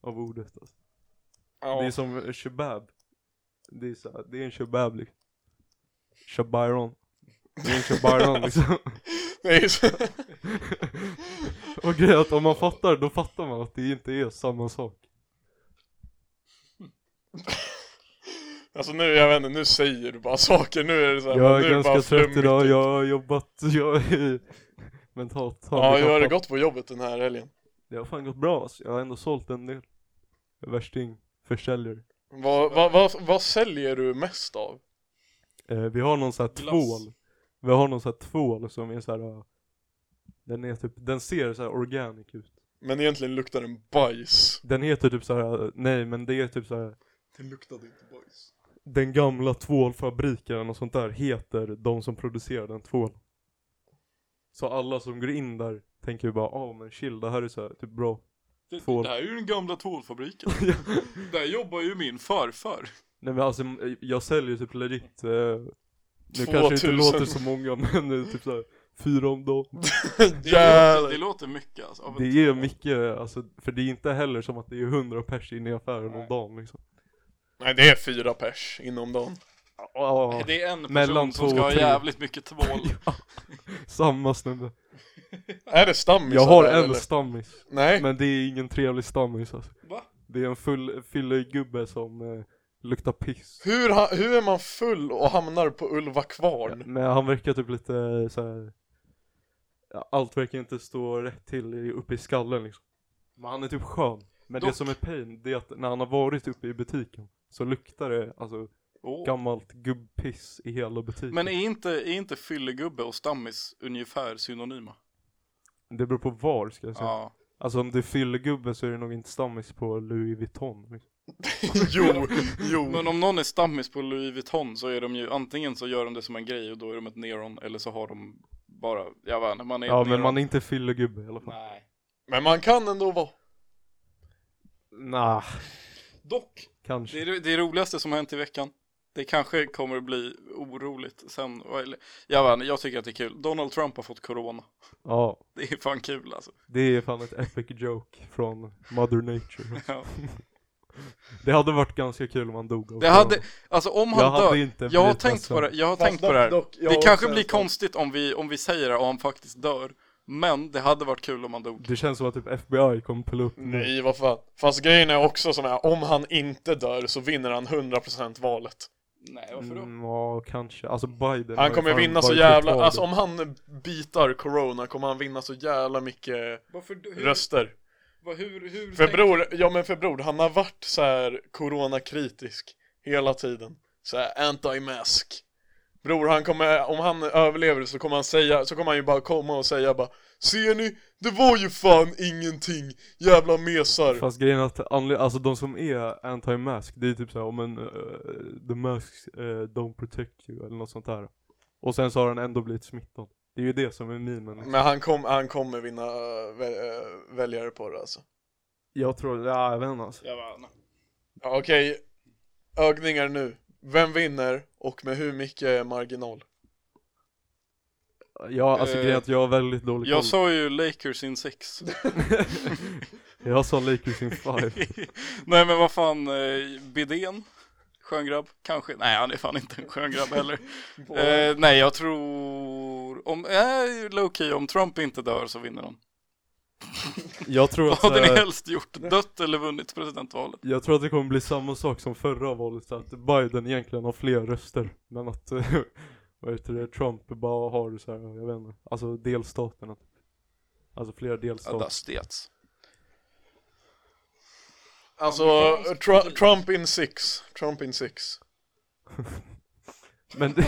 B: av ordet alltså. Det är
A: Ja,
B: som shabab Det är, så här, det är en shabab liksom Shabiron Det är en shabiron liksom
A: det är så...
B: Och grejen är att om man fattar, då fattar man att det inte är samma sak
A: Alltså nu, jag vet inte, nu säger du bara saker, nu är det så här,
B: Jag
A: nu
B: är
A: bara typ.
B: ganska trött
A: flummigt.
B: idag, jag har jobbat, jag är mentalt
A: Ja, hur har det
B: handikappad.
A: gått på jobbet den här helgen?
B: Det har fan gått bra alltså. jag har ändå sålt en del Värsting, försäljare
A: Vad, vad, vad, vad säljer du mest av?
B: Eh, vi har någon sån här
C: Glass.
B: tvål. Vi har någon sån här tvål som är så här. eh, Den är typ, den ser så här organic ut.
A: Men egentligen luktar den bajs
B: Den heter typ så här. eh, nej men det är typ så här.
A: Det luktade inte bajs
B: Den gamla tvålfabriken och sånt där heter de som producerar den tvål. Så alla som går in där tänker ju bara, åh men chill det här är så här, typ bra.
C: Det,
B: Tvål.
C: det här är ju den gamla tvålfabriken. Där jobbar ju min farfar.
B: Nej men alltså m- jag säljer ju typ legit, eh, nu
A: 2000.
B: kanske det inte låter så många men det är typ så här, fyra om dagen.
C: Det,
A: Jävlar.
C: låter, det låter mycket alltså. Av en-
B: Det är mycket, alltså, för det är inte heller som att det är hundra pers inne i affären om dagen liksom.
A: Nej det är fyra pers inom dagen
B: Ja,
C: det är en person
B: Mellan
C: som
B: två
C: ska
B: och
C: ha
B: tre.
C: jävligt mycket tvål.
B: samma snubbe.
A: Är det stammisar
B: Jag har
A: där,
B: en
A: eller?
B: stammis,
A: Nej,
B: men det är ingen trevlig stammis alltså.
C: Va?
B: Det är en full fyllegubbe som eh, luktar piss.
A: hur, ha, hur är man full och hamnar på Ulva kvarn?
B: Men han verkar typ lite eh, så här. ja, allt verkar inte stå rätt till i- uppe i skallen liksom. Men han är typ skön. Men det
C: Dock-
B: som är pain, det är att när han har varit uppe i butiken så luktar det alltså
C: Åh.
B: gammalt gubbpiss i hela butiken.
C: Men är inte, är inte fyllegubbe och stammis ungefär synonyma?
B: Det beror på var ska jag säga.
C: Ja.
B: Alltså om det är fyllegubbe så är det nog inte stammis på Louis Vuitton. liksom.
A: jo, jo
C: Men om någon är stammis på Louis Vuitton så är de ju antingen så gör de det som en grej och då är de ett neron eller så har de bara, jag vet inte, man är
B: Ja
C: ett
B: men
C: neron.
B: man är inte fyllegubbe i alla fall.
C: Nej.
A: Men man kan ändå vara
B: Nah,
C: Dock,
B: kanske.
C: det är det roligaste som har hänt i veckan. Det kanske kommer att bli oroligt sen, eller, jag vet inte, jag tycker att det är kul. Donald Trump har fått corona.
B: Ja,
C: Det är fan kul alltså.
B: det är fan ett epic joke från Mother Nature.
C: Ja.
B: Det hade varit ganska kul om han dog av
C: Det hade, alltså om han
B: Jag hade
C: dör,
B: inte
C: jag har
B: blivit
C: tänkt
B: ledsen.
C: på det, jag har
A: Fast
C: tänkt på det här.
A: dock- dock, jag har
C: det
A: också
C: kanske blir
A: en sån-
C: konstigt om vi, om vi säger det och han faktiskt dör. Men det hade varit kul om han dog.
B: Det känns som att typ FBI kommer pulla upp nu.
A: Nej vad fan Fast grejen är också sån här, om han inte dör så vinner han 100% valet
C: Nej,
B: Mm, ja, kanske. Alltså Biden. har
A: Han
B: ju
A: kommer
B: fan
A: vinna så
B: varit
A: jävla,
B: retard.
A: alltså om han bitar corona kommer han vinna så jävla mycket
C: Varför, hur,
A: röster
C: vad- hur, hur
A: För
C: tänk-
A: bror, ja men för bror, han har varit så här coronakritisk hela tiden så här anti-mask Bror han kommer, om han överlever så kommer han säga, så kommer han ju bara komma och säga bara Ser ni? Det var ju fan ingenting, jävla mesar
B: Fast grejen är att anle- alltså de som är anti-mask, det är typ såhär, om en the masks eh, don't protect you eller något sånt där. Och sen så har han ändå blivit smittad. Det är ju det som är memen. liksom.
A: Men han, kom, han kommer vinna äh, väl- äh, väljare på det alltså
B: Jag tror, ja jag vet inte alltså.
C: Jag vet inte.
A: Ja, Okej, ögningar nu Vem vinner och med hur mycket marginal?
B: Ja alltså
C: Eh,
B: grejen är att jag har väldigt dålig koll.
C: Jag sa ju Lakers in six.
B: Jag sa Lakers in five.
C: Nej men vad fan, eh, Bidén? Skön grabb? Kanske? Nej han är fan inte en skön grabb heller. eh, nej jag tror, om, eh, low key, om Trump inte dör så vinner han.
B: Jag tror
C: Vad
B: att,
C: hade ni
B: eh,
C: helst gjort? Dött eller vunnit presidentvalet?
B: jag tror att det kommer bli samma sak som förra valet. Att Biden egentligen har fler röster. Men att eh, vad heter det, Trump bara har så här, jag vet inte. Alltså delstaterna. Alltså flera delstater.
C: stets.
A: Alltså, Tru- Trump in six. Trump in six.
B: Men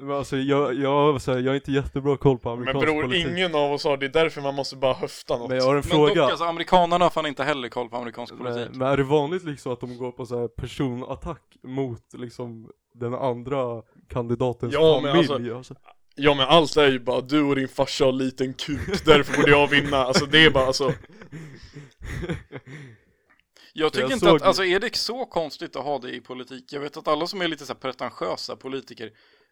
B: Men alltså jag, jag, så här, jag har inte jättebra koll på
A: Men
B: amerikansk
A: bror,
B: politik.
A: ingen av oss har det, är därför man måste bara höfta något.
B: Men jag har en
C: Men
B: fråga.
C: dock alltså, amerikanerna har fan inte heller koll på amerikansk politik.
B: men, men är det vanligt liksom att de går på så här personattack mot liksom den andra kandidatens
A: Ja, men
B: familj?
A: alltså- Ja men allt är ju bara du och din farsa har liten kuk, därför borde jag vinna. Alltså det är bara alltså,
B: Alltså-
C: Jag tycker
B: jag
C: inte
B: såg-
C: att, alltså är det så konstigt att ha det i politik? Jag vet att alla som är lite så här pretentiösa politiker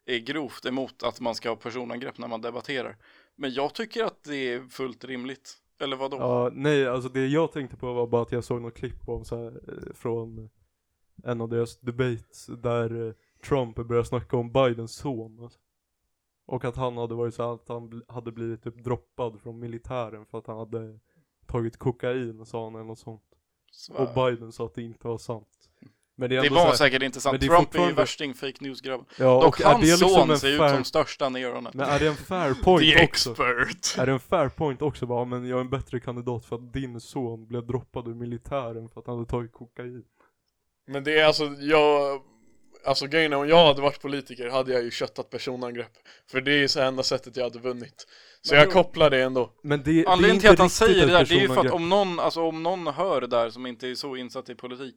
C: är grovt emot att man ska ha personangrepp när man debatterar. Men jag tycker att det är fullt rimligt. Eller vadå?
B: Ja, nej, alltså det jag tänkte på var bara att jag såg något klipp om så här, eh, från en av deras debates där eh, Trump började snacka om Bidens son. alltså. Och att han hade varit så här, att han bl- hade blivit typ droppad från militären för att han hade tagit kokain sa han eller något sånt.
C: Så-
B: Och Biden sa att det inte var sant. Men det är
C: det
B: ändå så
C: var
B: här,
C: säkert inte sant.
B: men det är
C: Trump är ju
B: fortfarande-
C: värsting fake news-grabben.
B: ja,
C: Dock
B: och är
C: hans
B: det liksom
C: son
B: en
C: ser ut
B: fair,
C: som största neronen.
B: men är det en fair point
A: the
B: också?
A: expert.
B: Är det en fair point också bara, men jag är en bättre kandidat för att din son blev droppad ur militären för att han hade tagit kokain?
A: Men det är alltså, jag, alltså grejen är om jag hade varit politiker hade jag ju köttat personangrepp. För det är ju så här enda sättet jag hade vunnit. Så
C: Men
A: jag
C: då-
A: kopplar det ändå.
B: Men det, det är
C: Anledningen
B: inte
C: till att han
B: riktigt
C: säger
B: ett
C: det där, det är ju för att
B: personangrepp.
C: om någon, alltså, om någon hör det där som inte är så insatt i politik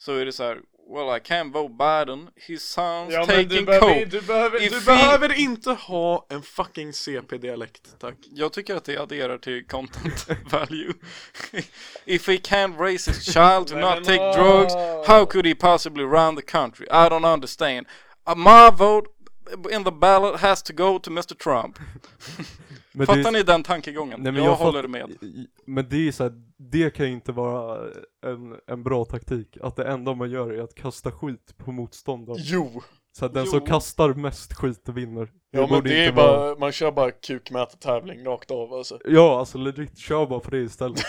C: så är det så här, well I can't vote Biden, his son's taking coke.
A: du behöver,
C: If he-
A: inte ha en fucking CP-dialekt, tack.
C: Jag tycker att det adderar till content value. If he can't raise his child to
A: Nej,
C: not
A: men
C: take
A: åh.
C: drugs, how could he possibly run the country? I don't understand. Uh, my vote in the ballot has to go to Mr Trump.
B: Men det-
C: Fattar ni den tankegången?
B: Nej, men
C: jag,
B: jag
C: håller
B: fatt-
C: med.
B: i- Men det är så här, det kan ju inte vara en, en bra taktik. Att det enda man gör är att kasta skit på motståndaren.
A: Jo!
B: Så att den som
C: Jo.
B: kastar mest skit vinner.
A: Ja men
B: borde
A: det är
B: inte vara-
A: bara, man kör bara kukmätartävling rakt av alltså.
B: Ja, alltså legit, kör bara på det istället.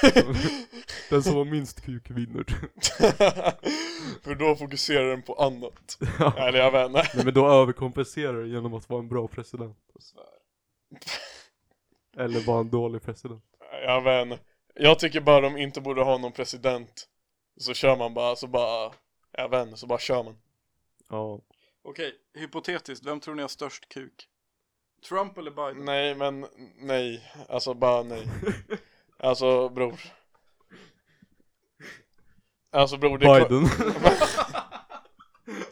B: den som har minst kuk vinner.
A: För då fokuserar den på annat.
B: Ja.
A: Eller jag vet inte.
B: Nej men då överkompenserar du genom att vara en bra president. Eller vara en dålig president.
A: Jag vet inte. Jag tycker bara de inte borde ha någon president. Så kör man bara, så bara, jag vet inte, så bara kör man.
B: Ja.
C: Okej, hypotetiskt, vem tror ni har störst kuk? Trump eller Biden?
A: Nej men nej, alltså bara nej Alltså bror Alltså bror det är klart-
B: Biden.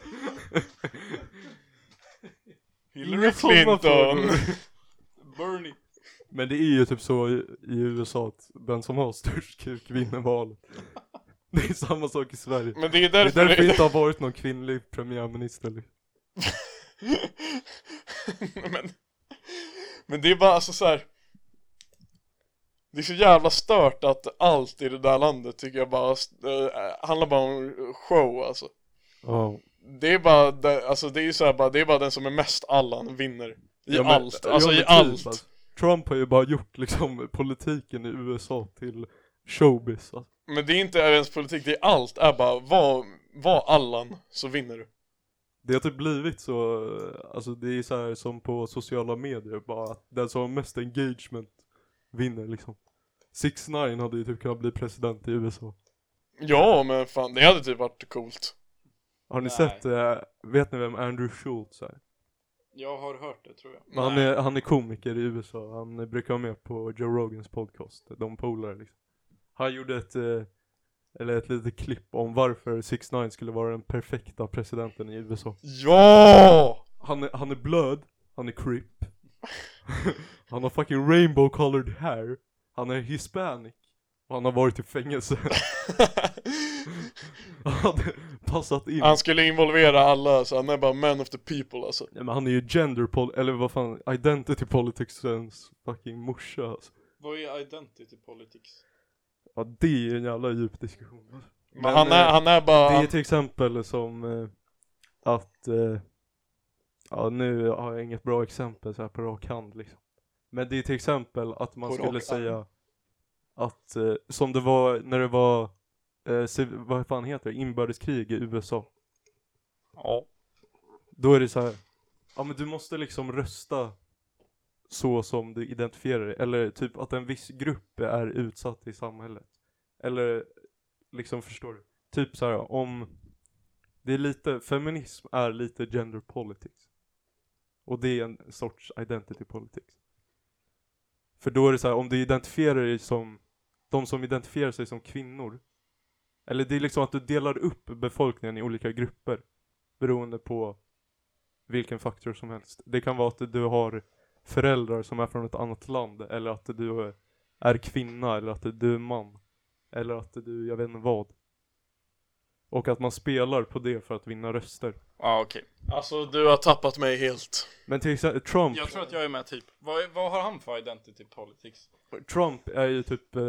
A: Hillary
B: Inga sådana
A: Clinton
B: frågor.
C: Bernie.
B: Men det är ju typ så i, i USA att den som har störst kuk vinner valet. Det är samma sak i Sverige.
A: Men det är
B: Det är
A: därför,
B: därför det inte har varit någon kvinnlig premiärminister.
A: men, men det är bara alltså så här. Det är så jävla stört att allt i det där landet tycker jag bara eh, handlar bara om show alltså
B: Ja.
A: Det är bara, det- alltså det är ju så här bara, det är bara den som är mest Allan vinner I
B: Ja, men-
A: allt, alltså
B: ja,
A: i
B: men typ,
A: allt
B: alltså. Trump har ju bara gjort liksom politiken i USA till showbiz. Alltså.
A: Men det är inte ens politik, det är allt är bara var, var Allan så vinner du
B: Det har typ blivit så, eh, alltså det är så här som på sociala medier bara att den som har mest engagement vinner liksom. 6 9 hade ju typ kunnat bli president i USA.
A: Ja men fan, det hade typ varit coolt
B: Har ni
C: Nej.
B: sett, eh, vet ni vem Andrew Schultz är?
C: Jag har hört det tror jag.
B: Men Han är, han är komiker i USA, han eh, brukar vara med på Joe Rogans podcast, de polare liksom. Han gjorde ett, eh, eller ett litet klipp om varför 6 9 skulle vara den perfekta presidenten i USA.
A: Ja!
B: Han är, han är blöd, han är creep. han har fucking rainbow colored hair. Han är hispanic. Och han har varit i fängelse. Han- passat in.
A: Han skulle involvera alla så han är bara man of the people alltså
B: Nej, men han är ju gender pol- eller vad fan, identity politicsens fucking morsa alltså.
C: Vad är identity politics?
B: Ja det är en jävla djup diskussion. alltså.
A: Men,
B: Men,
A: han, är,
B: eh,
A: han är bara,
B: Det är till exempel som eh, att, eh, ja nu har jag inget bra exempel så här på rak hand liksom. Men det är till exempel att man
A: På rak
B: skulle
A: hand.
B: säga att, eh, som det var när det var, eh, civ- vad fan heter det, inbördeskrig i USA.
C: Ja.
B: Då är det så här. Ja men du måste liksom rösta så som du identifierar dig. Eller typ att en viss grupp är utsatt i samhället. Eller liksom förstår du? Typ så här om det är lite, feminism är lite gender politics. Och det är en sorts identity politics. För då är det så här, om du identifierar dig som, de som identifierar sig som kvinnor. Eller det är liksom att du delar upp befolkningen i olika grupper. Beroende på vilken faktor som helst. Det kan vara att du har föräldrar som är från ett annat land eller att du är kvinna eller att du är man. Eller att du, jag vet inte vad. Och att man spelar på det för att vinna röster.
C: Ja okej.
A: alltså du har tappat mig helt
B: Men till exempel Trump,
C: Jag tror att jag är med typ. Vad, är, vad har han för identity politics?
B: Trump är ju typ, eh,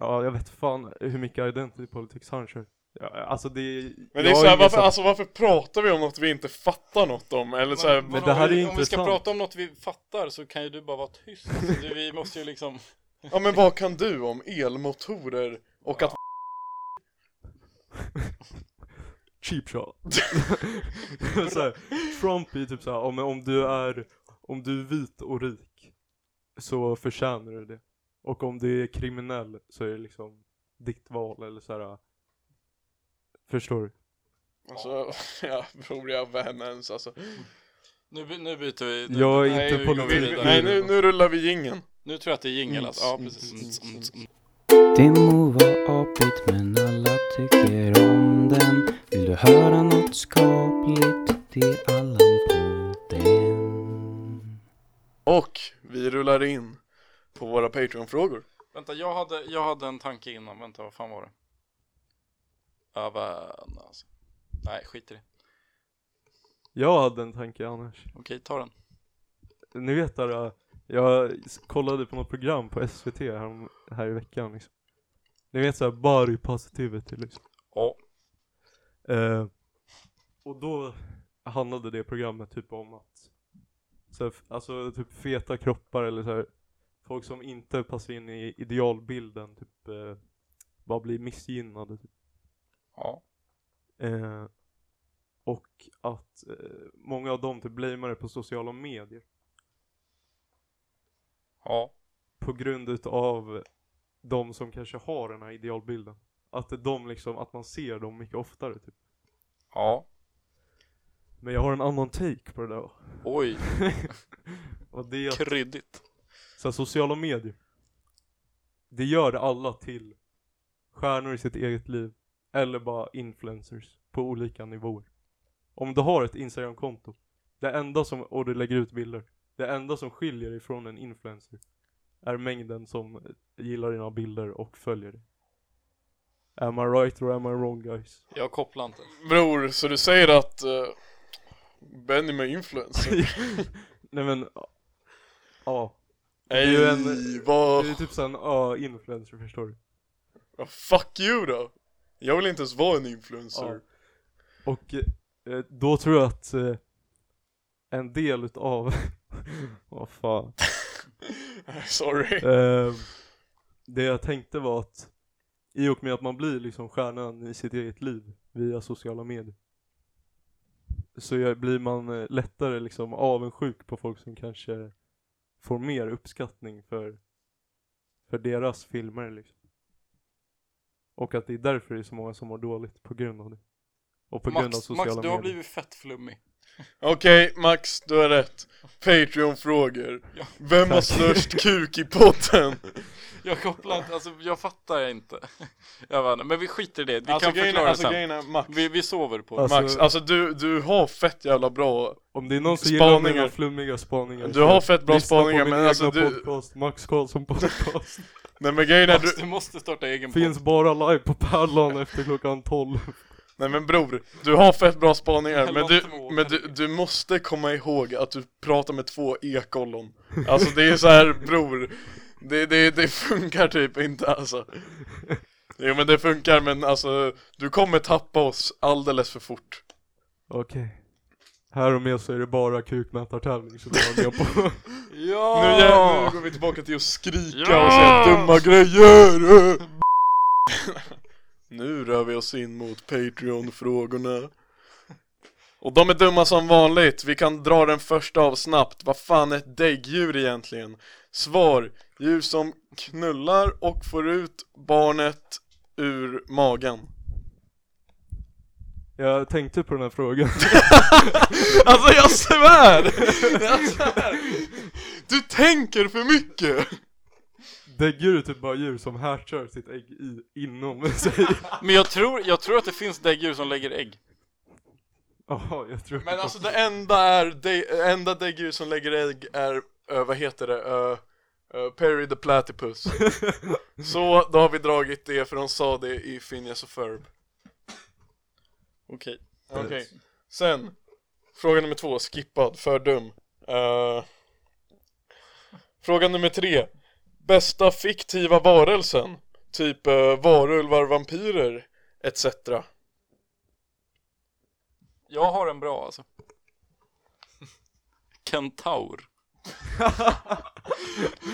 B: ja jag vet fan hur mycket identity politics han kör. Ja, alltså det
A: Men det är
B: jag har
A: såhär,
B: ingen
A: varför,
B: sa-
A: alltså, varför pratar vi om något vi inte fattar något om? Eller såhär,
B: Men det här är
C: om, vi, om vi ska
B: intressant.
C: prata om något vi fattar så kan ju du bara vara tyst. Alltså, du, vi måste ju liksom.
A: ja men vad kan du om elmotorer? Och att
B: cheap shot. så här, Trump är ju typ såhär, om, om du är, om du är vit och rik så förtjänar du det. Och om du är kriminell så är det liksom ditt val eller såhär. Förstår du?
A: Alltså, ja bror jag vän ens alltså
C: Nu, by- nu byter vi. Nu,
B: Jag är
A: Nej,
B: inte
A: vi-
C: går
A: vi-
B: politik.
C: vidare.
A: Nej nu, nu rullar vi jingeln
C: nu tror jag att det är jingel
B: Mm,
C: alltså. Ja
B: mm,
C: precis.
B: mm,
C: Mm, mm.
E: Det må vara apigt men alla tycker om den Vill du höra något skapligt? Det är Allan på den
A: Och vi rullar in på våra Patreon-frågor
C: Vänta, jag hade, jag hade en tanke innan. Vänta, vad fan var det? Avan, alltså. Nej, skit i det.
B: Jag hade en tanke annars.
C: Okej, ta den.
B: Ni vet där, äh, jag s- kollade på något program på SVT här, här i veckan liksom. Ni vet såhär, body positivity liksom.
C: Ja.
B: Eh, och då handlade det programmet typ om att så här, f- alltså typ feta kroppar eller så här, folk som inte passar in i idealbilden typ eh, bara blir missgynnade. Typ.
C: Ja.
B: Eh, och att eh, många av dem typ blamear det på sociala medier
C: Ja.
B: på grund utav de som kanske har den här idealbilden. Att de liksom, att man ser dem mycket oftare typ.
C: Ja.
B: Men jag har en annan take på det där.
C: Oj,
B: Och det är att
C: kryddigt.
B: Så här, sociala medier. Det gör alla till stjärnor i sitt eget liv. Eller bara influencers på olika nivåer. Om du har ett Instagram-konto det enda som, och du lägger ut bilder. Det enda som skiljer dig från en influencer är mängden som gillar dina bilder och följer dig. Am I right or am I wrong guys?
C: Jag kopplar inte.
A: Bror, så du säger att uh, Benny med influencer?
B: Nej men, ja. är
A: Nej,
B: ju en-
A: vad...
B: Det är typ såhär en ö-influencer förstår du.
A: vad Fuck you då! Jag vill inte ens vara en influencer
B: Och eh, då tror jag att eh, en del utav, vad fan,
A: Sorry
B: eh, det jag tänkte var att i och med att man blir liksom stjärnan i sitt eget liv via sociala medier så gör- blir man eh, lättare liksom avundsjuk på folk som kanske får mer uppskattning för, för deras filmer liksom. Och att det är därför det är så många som mår dåligt på grund av det. Och på grund av
C: Max,
B: sociala
C: Max, du
B: medier.
C: har blivit fett flummig.
A: Okej Max, du har rätt Patreon-frågor
C: Ja.
A: Vem har
B: Tack.
A: störst kuk i podden?
C: Jag kopplar inte, alltså jag fattar inte. Jag vet inte, men vi skiter i det. Vi
A: alltså
C: kan
A: grejen,
C: förklara
A: är- alltså,
C: det sen.
A: grejen är Max
C: Vi, vi sover på det.
B: Alltså-
A: Max, alltså du, du har fett jävla bra
B: Om det är någon som gillar
A: Spaningar.
B: mina flummiga spaningar
A: Du
B: så
A: har fett bra
B: lyssna
A: spaningar,
B: på min
A: men
B: egna
A: alltså du-
B: podcast, Max Karlsson podcast
A: Nej men grejen är
C: Max,
A: du
C: du måste starta egen
B: Finns bara live på Pärlan efter klockan 12
A: Nej men bror, du har fett bra spaningar men,
C: Helvete
A: du,
C: med
A: men du, du måste komma ihåg att du pratar med två ekollon Alltså det är så här bror, det, det, det funkar typ inte alltså Jo men det funkar men alltså, du kommer tappa oss alldeles för fort
B: Okej. Här och med så är det bara kukmätartävling som jag är med på.
C: Ja!
A: nu, ja, nu går vi tillbaka till att skrika och säga dumma grejer! nu rör vi oss in mot Patreon-frågorna Och de är dumma som vanligt, vi kan dra den första av snabbt Vad fan är ett däggdjur egentligen? Svar, djur som knullar och får ut barnet ur magen
B: Jag tänkte på den här frågan.
A: Alltså jag svär! Jag svär! Du tänker för mycket!
B: Däggdjur är typ bara djur som härkör sitt ägg i, inom sig.
C: Men jag tror, jag tror att det finns däggdjur som lägger ägg.
B: Jaha, jag tror
A: Men alltså det enda är, det enda däggdjur som lägger ägg är, eh, vad heter det, Eh, eh, Perry the Platypus Så då har vi dragit det för de sa det i Phineas och Ferb
C: Okej.
A: Okej, sen Fråga nummer två, skippad, för dum Eh, Fråga nummer tre Bästa fiktiva varelsen? Typ uh, varulvar, vampyrer etc.
C: Jag har en bra alltså. Kentaur.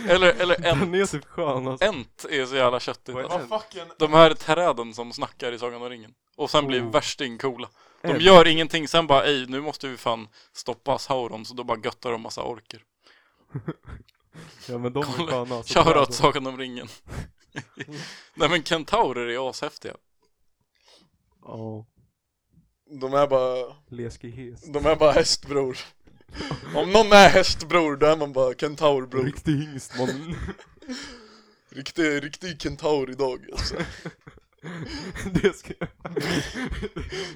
C: eller, eller
B: Den
C: ent.
B: är typ skön alltså.
C: Ent är så jävla köttigt.
B: Vad är
C: Alltså.
B: ent?
A: fucking
C: De här träden som snackar i Sagan om ringen. Och sen blir värsting coola. De
B: Ent.
C: gör ingenting, sen bara ej, nu måste vi fan stoppa Sauron, så då bara göttar de massa orker.
B: Ja men de är sköna alltså.
C: Shoutout Sagan om ringen. Nej men kentaurer är ashäftiga.
B: Ja,
A: De är bara
B: läskig häst.
A: De är bara hästbror Om någon är hästbror då är man bara kentaurbror
B: Riktig hingst man.
A: Riktig, riktig kentaur idag alltså.
B: Det ska jag...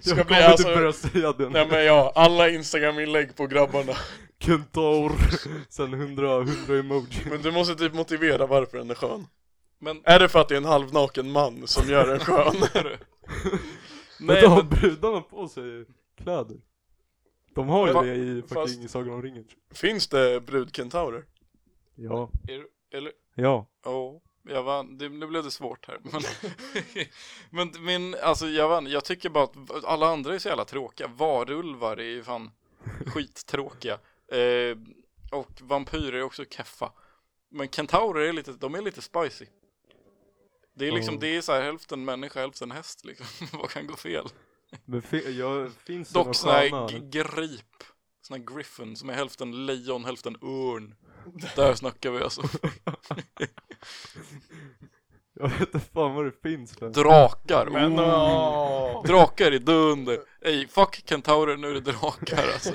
A: Ska
B: Jag
A: bli
B: kommer inte
A: alltså-
B: börja säga det
A: Nej men ja, alla instagram-inlägg på grabbarna
B: Kentaur. Sen hundra, hundra emoji.
A: Men du måste typ motivera varför den är skön
C: Men
A: Är det för att det är en halvnaken man som gör den skön?
B: Men
C: nej,
B: då har
C: men,
B: brudarna på sig kläder. De har ju
A: Va-
B: det i fucking
A: fast-
B: Sagan om ringen. tror
A: Finns det brudkentaurer?
B: jag. Ja.
C: är, du- eller
B: Ja.
C: Ja, jag vann. Det, nu blev det svårt här. Men, men min, alltså jag vann. Jag tycker bara att alla andra är så jävla tråkiga. Varulvar är ju fan skittråkiga. Eh, och vampyrer är också keffa. Men kentaurer är lite, de är lite spicy. Det är liksom,
B: Ja.
C: det är så här hälften människa, hälften häst liksom. Vad kan gå fel?
B: Men fi- jag, finns det några
C: Dock såna
B: sköna?
C: här g- grip, såna här griffin som är hälften lejon, hälften örn. Där snackar vi alltså.
B: Jag vet inte fan vad det finns för.
C: Drakar.
A: Men åh.
C: Drakar är dunder. Ey, fuck kentaurer, nu är det drakar alltså.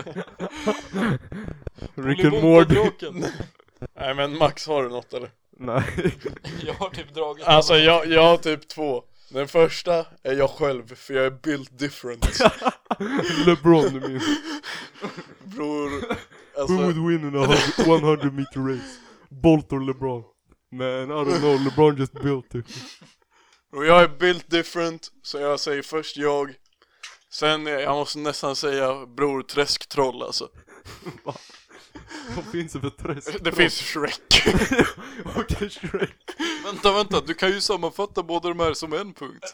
B: Rick and Morty.
A: Nej men Max, har du något eller?
B: Nej.
C: Jag har typ dragit
A: Alltså jag, jag har typ två Den första är jag själv, för jag är built different
B: LeBron du minns.
A: Bror,
B: Who
A: alltså
B: would win in a hu- 100 meter race? Bolt or LeBron? Man, I don't know. LeBron just built it.
A: Och jag är built different, så jag säger först jag Sen, eh, jag måste nästan säga bror träsktroll alltså
B: Vad finns det för träsk?
A: Det finns Shrek
B: Okej, Shrek.
C: Vänta, vänta, du kan ju sammanfatta båda de här som en punkt.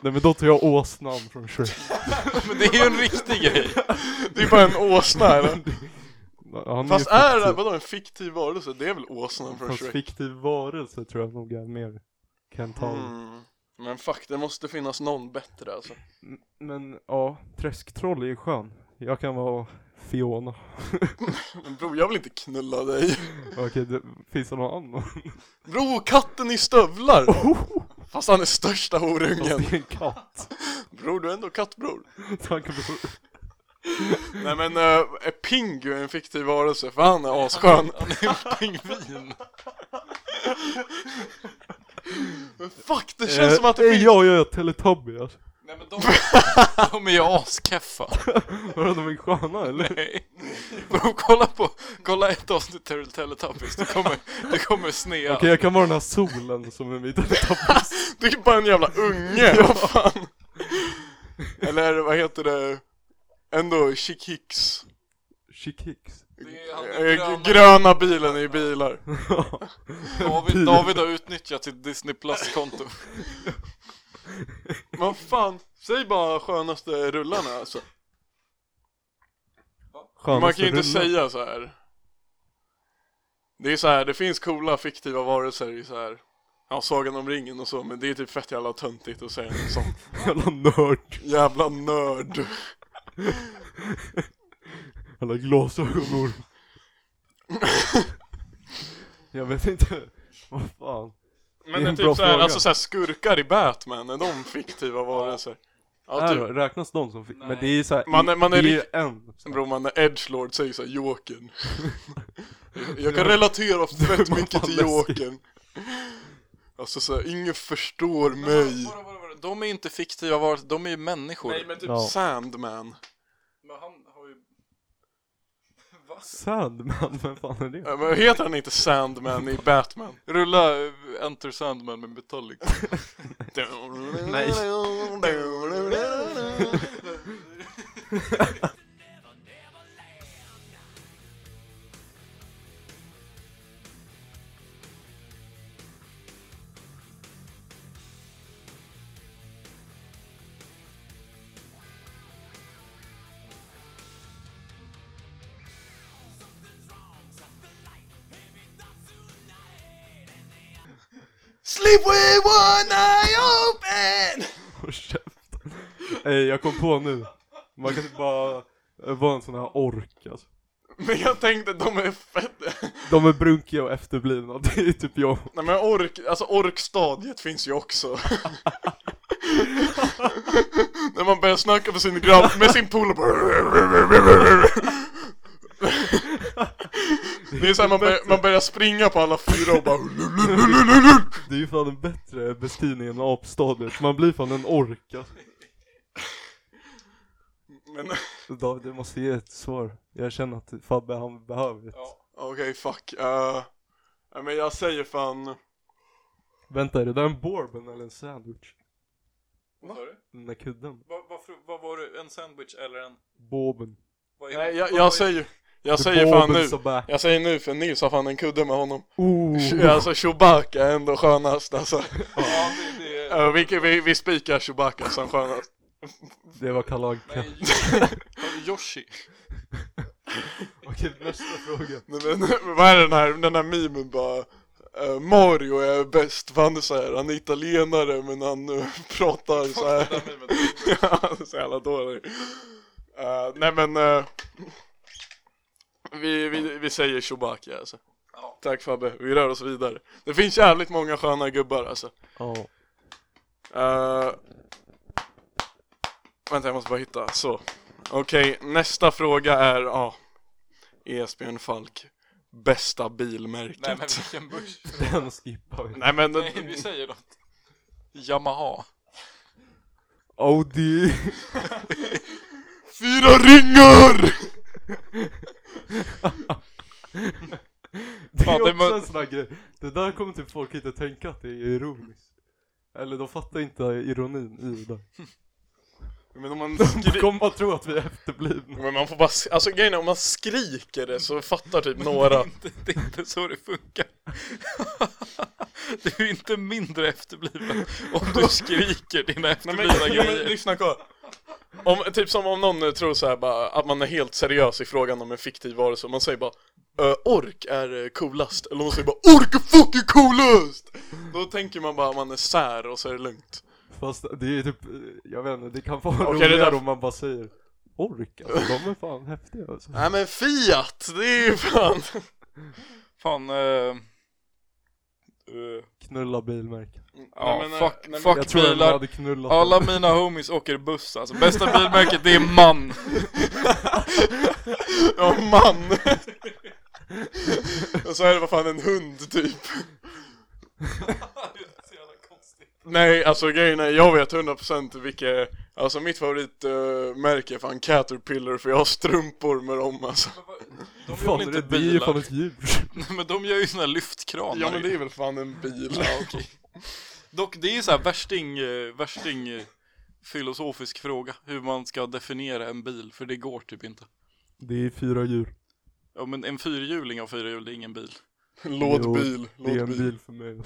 B: Nej men då tar jag åsnan från Shrek.
C: Men det är ju en riktig grej.
A: Det är bara en åsna eller?
B: Han
A: Fast
B: ju
A: är det,
B: fiktiv-
A: vadå en fiktiv varelse? Det är väl åsnan från
B: Fast
A: Shrek?
B: fiktiv varelse tror jag nog är mer. Kentaur.
A: Mm. Men fuck, det måste finnas någon bättre alltså
B: M- Men ja, träsktroll är ju skön. Jag kan vara Fiona.
A: Men bror, jag vill inte knulla dig
B: Okej, det finns det någon annan?
A: Bror, katten i stövlar!
B: Oh,
A: Fast han är största
B: fast
A: horungen
B: det är en katt.
A: Bror, du är ändå kattbror
B: Tack bror.
A: Nej men, eh, är Pingu en fiktiv varelse? För han är asskön
C: Han är en pingvin.
A: Men fuck, det känns som att det
B: Eh,
A: finns
B: Ja, ja, ja, Teletubby alltså.
C: Nej men de, de är ju askeffa.
B: Vadå, de är sköna eller?
C: Nej. Bro, kolla på, kolla ett avsnitt Terrell Teletubbies, du kommer, du kommer snea.
B: Okej jag kan vara den här solen som är mitt
A: Det är bara en jävla unge, vad fan Eller vad heter det? Ändå Chick Hicks
B: Chick Hicks
C: Det är han
A: Eh, gröna,
C: den gröna,
A: bilen i bilar
C: David, David har utnyttjat sitt Disney Plus-konto.
A: Vad fan, säg bara skönaste rullarna alltså Man kan ju inte
B: Skönaste rullen.
A: säga så här. Det är så här, det finns coola fiktiva varelser i så här. Ja, Sagan om ringen och så, men det är typ fett jävla töntigt att säga en sån
B: Jävla nörd
A: jävla nörd
B: Jävla glasögonorm Jag vet inte Vad fan
A: Men
B: Det är
A: det är
B: en bra
A: typ såhär,
B: fråga.
A: alltså såhär skurkar i Batman, är de fiktiva varelser? Ja,
B: Är
A: typ.
B: det- Räknas de som fick? Men
C: Nej.
B: det är ju såhär
A: Man är- man är
B: Det är ju en
A: Bror man när Edgelord säger såhär Jokern Jag kan relatera fett
B: var
A: mycket
B: fan
A: till
B: läskigt.
A: Jokern Alltså såhär, ingen förstår mig
C: Vara, vara, vara. De är inte fiktiva varelser, de är ju människor.
A: Nej men typ
B: Ja.
A: Sandman
C: men han har ju... Va?
B: Sandman, vem fan är det?
A: Ja, Men heter han inte Sandman i Batman?
C: Rulla eh, Enter Sandman med Metallica.
A: Nej Sleep with one eye open!
B: Håll käften Ey, jag kom på nu Man kan typ bara eh, vara en sån här ork alltså.
A: Men jag tänkte de är fett
B: De är brunkiga och efterblivna, det är typ jag
A: Nej men ork, alltså orkstadiet finns ju också När man börjar snacka med sin grabb, med sin polare Det är såhär man, bör, man börjar springa på alla fyra och bara
B: Det är ju fan en bättre beskrivning än apstadiet, man blir fan en ork alltså.
A: Men
B: David, du måste ge ett svar Jag känner att Fabbe, han behöver ett
A: okej fuck, Eh, nej men jag säger fan
B: Vänta, är det där en bourbon eller en sandwich?
C: Vad sa du?
B: Den där kudden?
C: Vad- vad för- Vad var du? En sandwich eller en...
B: Bourbon
C: vad är-
A: Nej
C: vad
A: jag,
C: var-
A: jag säger, jag säger fan nu
B: Back.
A: Jag säger nu för Nils har fan en kudde med honom
B: Oh.
A: Alltså Chewbacca är ändå skönast alltså
C: Ja, det, det är...
A: Eh, vi, vi, vi spikar Chewbacca som skönast
B: Det var Kalle Anka
C: Nej, Hörru, Yoshi.
B: Okej, nästa fråga
A: Men, men, men vad är den här, den här memen bara eh, Mario är bäst för han är såhär, han är italienare men han eh, pratar såhär
C: Där med mig.
A: Ja, så jävla dålig Eh, Nej men eh, vi, vi, vi säger Chewbacca alltså
C: Ja.
A: Tack Fabbe, vi rör oss vidare Det finns jävligt många sköna gubbar alltså
B: Ja,
A: Eh, Vänta jag måste bara hitta, så Okej, nästa fråga är, ja Esbjörn Falk Bästa bilmärket
C: Nej men vilken buss.
B: den skippar vi
A: Nej men
C: Nej, vi säger något. Yamaha.
B: Audi
A: fyra ringar!
B: Det
C: Fan,
B: är
C: det
B: också
C: var-
B: en sån här grej. Det där kommer typ folk inte tänka att det är ironiskt. Eller de fattar inte ironin i det där.
A: Men om man
B: De
A: skriker,
B: kommer bara tro att vi är efterblivna.
A: men man får bara, sk- alltså grejen är om man skriker det så fattar typ några
C: Det, det är inte så det funkar. Du är inte mindre efterbliven om du skriker dina
A: Nej men,
C: efterblivna
A: nej, men
C: grejer.
A: lyssna kolla om, typ som om någon eh, tror så här bara, att man är helt seriös i frågan om en fiktiv varelse och man säger bara "Ö, ork är eh, coolast, eller någon säger bara ork är fucking coolast! Då tänker man bara att man är sär och så är det lugnt
B: Fast det är typ, eh, jag vet inte, det kan vara
A: Okej, det
B: roligare
A: där-
B: om man bara säger Ork alltså, de är fan häftiga alltså.
A: Nej men Fiat, det är ju fan
C: Fan, eh, eh,
B: Knulla bilmärken.
C: ja,
A: men, eh,
C: fuck,
A: nej, men-
C: fuck
B: Jag tror jag
C: bilar.
B: hade knullat
C: Alla mina homies åker buss alltså. Bästa bilmärket det är man.
A: Ja man! och så är det vad fan en hund typ Nej, alltså grejen är, jag vet 100% vilka, alltså mitt favoritmärke är fan Caterpillar för jag har strumpor med dem alltså
C: Men vad- De gör
B: Fan,
C: väl
B: är det
C: inte
B: ett bi är
C: bilar?
B: fan ett djur.
C: Nej, men de gör ju såna här lyftkranar.
A: Ja men det är väl fan en bil
C: Ja, okej. Dock, det är ju så här värsting, eh, värsting eh, filosofisk fråga. Hur man ska definiera en bil, för det går typ inte.
B: Det är fyra djur.
C: Ja men en fyrhjuling av fyra hjul, det är ingen bil.
B: Jo,
A: Låt bil,
B: Det är
A: låt
B: en
A: bil
B: bil för mig.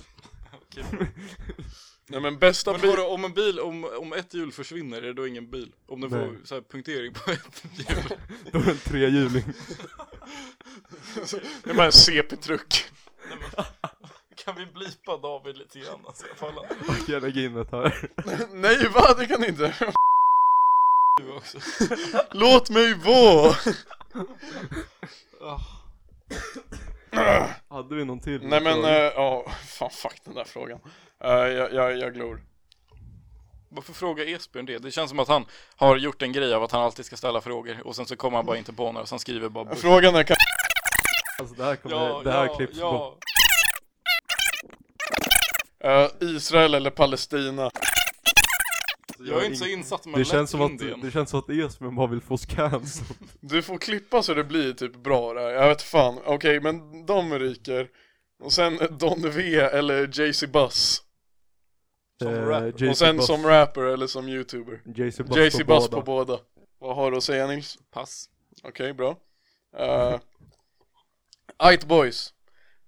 A: Nej men bästa
C: Men
A: bil,
C: vadå, om en bil, om, om ett hjul försvinner, är det då ingen bil? Om den
B: Nej.
C: får så här punktering på ett hjul?
B: Då är det en trehjuling.
A: det är bara en CP-truck
C: Kan vi blipa David lite grann alltså? Jag får alla
B: Ska jag lägga in ett här?
A: Nej va, det kan ni inte!
C: du också.
A: Låt mig vara!
C: Ah.
B: Hade vi någon till?
A: Nej men, eh, ja, fan fuck den där frågan Eh, jag, jag, jag glor
C: Varför fråga Esbjörn det? Det känns som att han har gjort en grej av att han alltid ska ställa frågor och sen så kommer han bara inte på några, så han skriver bara bort.
A: Frågan är kan
B: Alltså det här kommer, det här klipps bort.
A: eh, Israel eller Palestina?
C: Jag är inte så insatt men
B: det känns, som att,
C: Indien.
B: det känns som att Esbjörn bara vill få oss cancelled.
A: Du får klippa så det blir typ bra där, jag vet fan Okej, men de ryker Och sen Don V eller JC Buzz
C: Som
B: Eh,
C: rap.
B: JC
A: Och sen
B: Buzz-
A: som rapper eller som youtuber
B: JC Buzz
A: JC
B: på
A: Buzz
B: båda.
A: på båda Vad har du att säga Nils?
C: Pass.
A: Okej, bra Eh, Ait Boys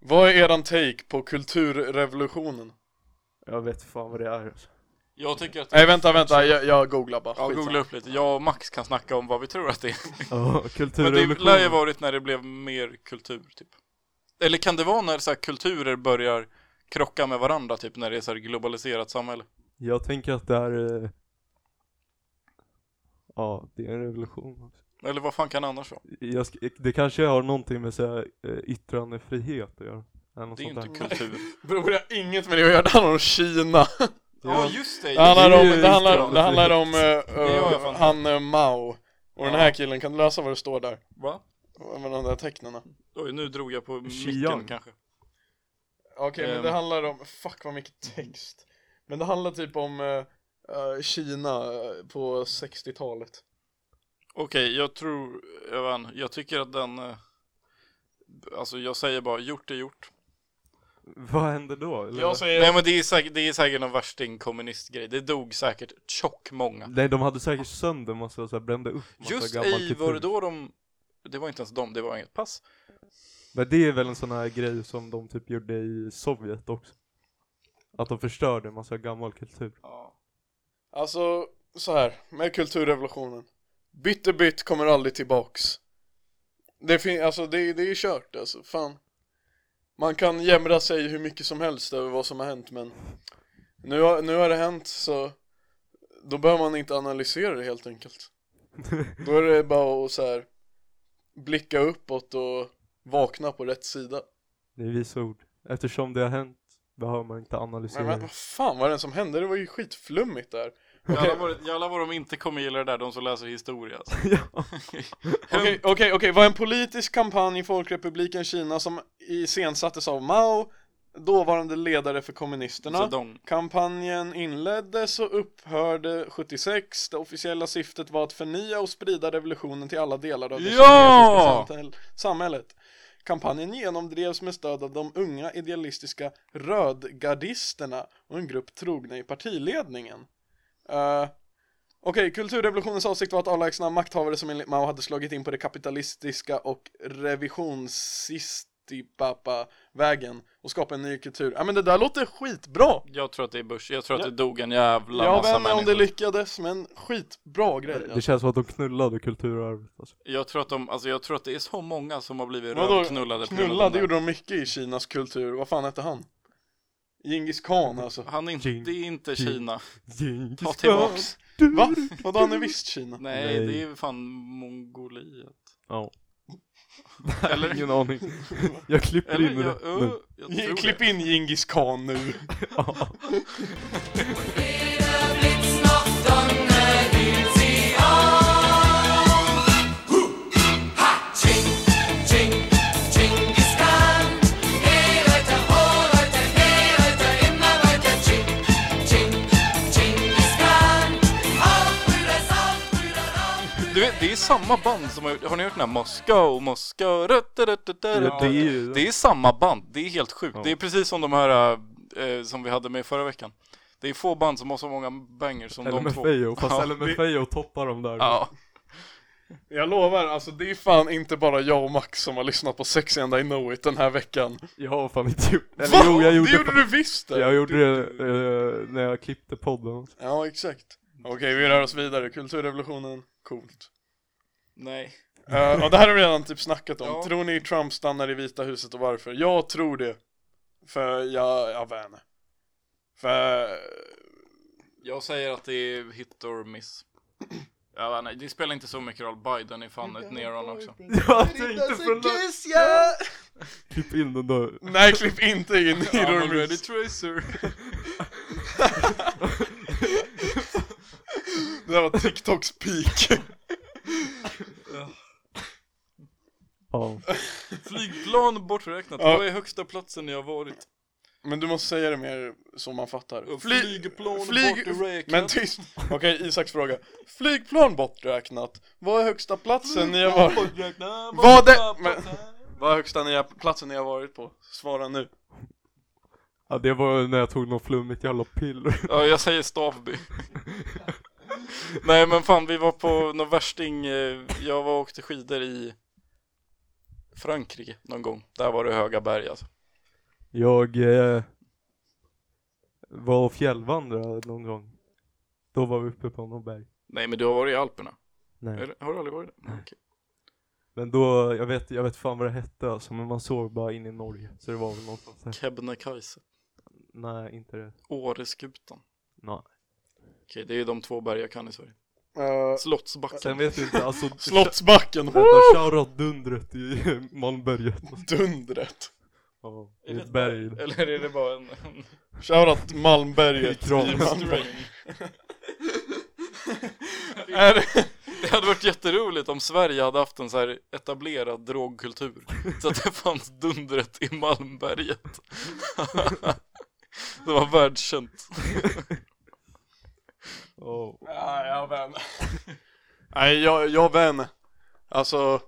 A: Vad är eran take på kulturrevolutionen?
B: Jag vet fan vad det är. alltså.
C: Jag tycker att...
A: Nej vänta, vänta, jag, jag googlar bara
C: Ja,
A: Skitsamma.
C: googla upp lite. Jag och Max kan snacka om vad vi tror att det är.
B: Ja,
C: Men det lär ju
B: kulturrevolutionen.
C: varit när det blev mer kultur, typ. Eller kan det vara när så här, kulturer börjar krocka med varandra, typ när det är så här globaliserat samhälle?
B: Jag tänker att det är... eh, Ja, det är en revolution. också.
C: Eller vad fan kan det annars vara?
B: Jag sk- det kanske har någonting med så här, eh, yttrandefrihet att göra. Eller något
C: Det är ju
B: sånt
C: inte
B: där.
C: kultur.
A: Bror det har inget med det att göra, det handlar om Kina
C: Ja, just det!
A: Det handlar
B: Det är
A: om,
B: ju
A: det handlar,
B: yttrandefrihet.
A: det handlar om eh,
C: gör jag
A: eh,
C: fan.
A: han eh, Mao och den
C: Ja.
A: här killen, kan du läsa vad det står där?
C: Va?
A: Med de där tecknena
C: Oj, nu drog jag på micken
B: Xi'an.
C: kanske.
A: Okej men det
C: Ehm.
A: handlar om, fuck vad mycket text Men det handlar typ om eh, eh, Kina eh, på 60-talet
C: Okej, jag tror, jag, vet, inte, jag tycker att den, eh, alltså jag säger bara gjort är gjort.
B: Vad händer då? Eller?
A: Jag säger,
C: Nej men det är säkert, det är säkert någon värsting kommunistgrej, det dog säkert tjock många.
B: Nej, de hade säkert sönder massa, så här, brände upp massa
C: Just
B: gammal
C: ej var det
B: kultur.
C: då de, det var inte ens de, det var inget pass.
B: Men det är väl en sån här grej som de typ gjorde i Sovjet också. Att de förstörde en massa gammal kultur.
A: alltså så här med kulturrevolutionen Bitterbytt kommer aldrig tillbaks Det finns, alltså det, det är kört alltså, fan Man kan jämra sig hur mycket som helst över vad som har hänt men Nu har, nu har det hänt så Då behöver man inte analysera det helt enkelt Då är det bara att så här Blicka uppåt och vakna på rätt sida
B: Det är visa ord. Eftersom det har hänt behöver man inte
A: Men,
B: analysera.
A: men vad fan var det som hände? Det var ju skitflummigt där
C: Jävlar vad- Jävlar vad de inte kommer gilla det där, de som läser historia alltså.
B: ja.
A: Okej, okej, okej, var en politisk kampanj i Folkrepubliken Kina som iscensattes av Mao, dåvarande ledare för kommunisterna.
C: Zedong.
A: Kampanjen inleddes och upphörde 76. Det officiella syftet var att förnya och sprida revolutionen till alla delar av det
C: Ja!
A: kinesiska samhäll- samhället. Kampanjen genomdrevs med stöd av de unga idealistiska rödgardisterna och en grupp trogna i partiledningen. Eh, Okej, kulturrevolutionens avsikt var att avlägsna makthavare som enligt Mao hade slagit in på det kapitalistiska och revisionistipapa vägen och skapa en ny kultur. Ja men det där låter skitbra!
C: Jag tror att det är Bush, jag tror att
A: Ja.
C: det dog en jävla
A: Jag
C: massa
A: vet inte om det
C: människor.
A: lyckades men skitbra grej Alltså,
B: Det känns som att de knullade kulturarvet. Alltså.
C: Jag tror att de, alltså jag tror att det är så många som har blivit
A: Vadå?
C: rövknullade på grund av
A: Knulla,
C: den
A: det
C: där.
A: gjorde de mycket i Kinas kultur, vad fan hette han? Genghis khan alltså
C: Han är inte,
B: Jing.
C: det är inte
B: Jing.
C: Kina.
A: typ.
C: Ta
B: Djingis
C: tillbaks.
A: Va? Vadå han är visst Kina?
C: Nej,
B: Nej.
C: det är fan Mongoliet.
B: Ja.
C: Eller?
B: Ingen aning. Jag klipper
C: Eller?
B: in det
C: Jag,
B: nu.
C: ö, jag tror
A: Klipp
C: det.
A: in Genghis khan nu!
F: Hey Leute, oh Leute, hey Leute, immer weiter Ching, Ching,
C: samma band som har gjort, har ni hört den här Moskau, Moskau, rötterötterötter?
B: Ja, det är ju...
C: Det är samma band, det är helt sjukt.
B: Ja.
C: Det är precis som de här eh, som vi hade med förra veckan. Det är få band som har så många bangers som de två.
B: LMFAO, fast
C: Ja,
B: LMFAO toppar dem där.
C: Ja.
A: Jag lovar, alltså det är fan inte bara jag och Max som har lyssnat på Sexy and I know it den här veckan
B: Jag har fan inte gjort...
A: Va?
B: Eller jo, jag gjorde
A: det gjorde
B: fan-
A: du visst det!
B: Jag gjorde
A: Du-
B: det eh, när jag klippte podden.
A: Ja, exakt Okej, vi rör oss vidare, kulturrevolutionen, coolt
C: Nej.
A: Eh, Ja, det här har vi redan typ snackat om.
C: Ja.
A: Tror ni Trump stannar i Vita huset och varför? Jag tror det. För jag, jag vet inte. För,
C: Jag säger att det är hit or miss. Ja, nej, det spelar inte så mycket roll. Biden är fan ett neron också.
B: Jag tänkte från... Klipp Typ in den där.
A: nej klipp inte in i
C: I'm
A: ja,
C: already tracer.
A: Det där var TikToks peak.
B: Ja.
C: Flygplan borträknat.
A: Ja.
C: Vad är högsta platsen jag har varit?
A: Men du måste säga det mer så man fattar.
C: Och Flygplan borträknat.
A: Men tyst. Okej, Isaks fråga. Flygplan borträknat. Vad är högsta platsen ni har varit?
C: Borträknat.
A: Vad är... Men... Vad är högsta ni har... platsen ni har varit på? Svara nu.
B: ja, det var när jag tog något flummigt jävla piller.
C: Ja, jag säger Stavby. Nej, men fan, vi var på någon värsting. eh, Jag var och åkte skidor i Frankrike någon gång. Där var det höga berg alltså.
B: Jag eh, var och fjällvandrade någon gång. Då var vi uppe på någon berg.
C: Nej, men du har varit i Alperna.
B: Mm. Nej.
C: Eller, Har du aldrig varit där? Okej.
B: Men då, jag vet, jag vet fan vad det hette alltså, men man såg bara in i Norge. Så det var väl någonstans här.
C: Kebnekaise.
B: Nej, inte det.
C: Åreskutan.
B: Nej.
C: Okej, det är ju de två berg jag kan i Sverige.
A: Eh,
B: Sen
C: Slottsbacken.
B: vet du inte, alltså...
A: Slottsbacken.
B: Vänta, shoutout Dundret i Malmberget.
A: Dundret.
B: Ja, i
C: Är det
B: ett
C: ett
B: berg.
C: Eller är det bara en... en
A: Shoutout
B: I
A: Malmberget i
B: Kramfors.
A: Malmberget.
C: sträng?
A: Är det-
C: Det hade varit jätteroligt om Sverige hade haft en så här etablerad drogkultur Så att det fanns dundret i Malmberget Det var världskänt
B: Ja.
A: Nej, jag vän. Nej, jag, jag vän. Alltså.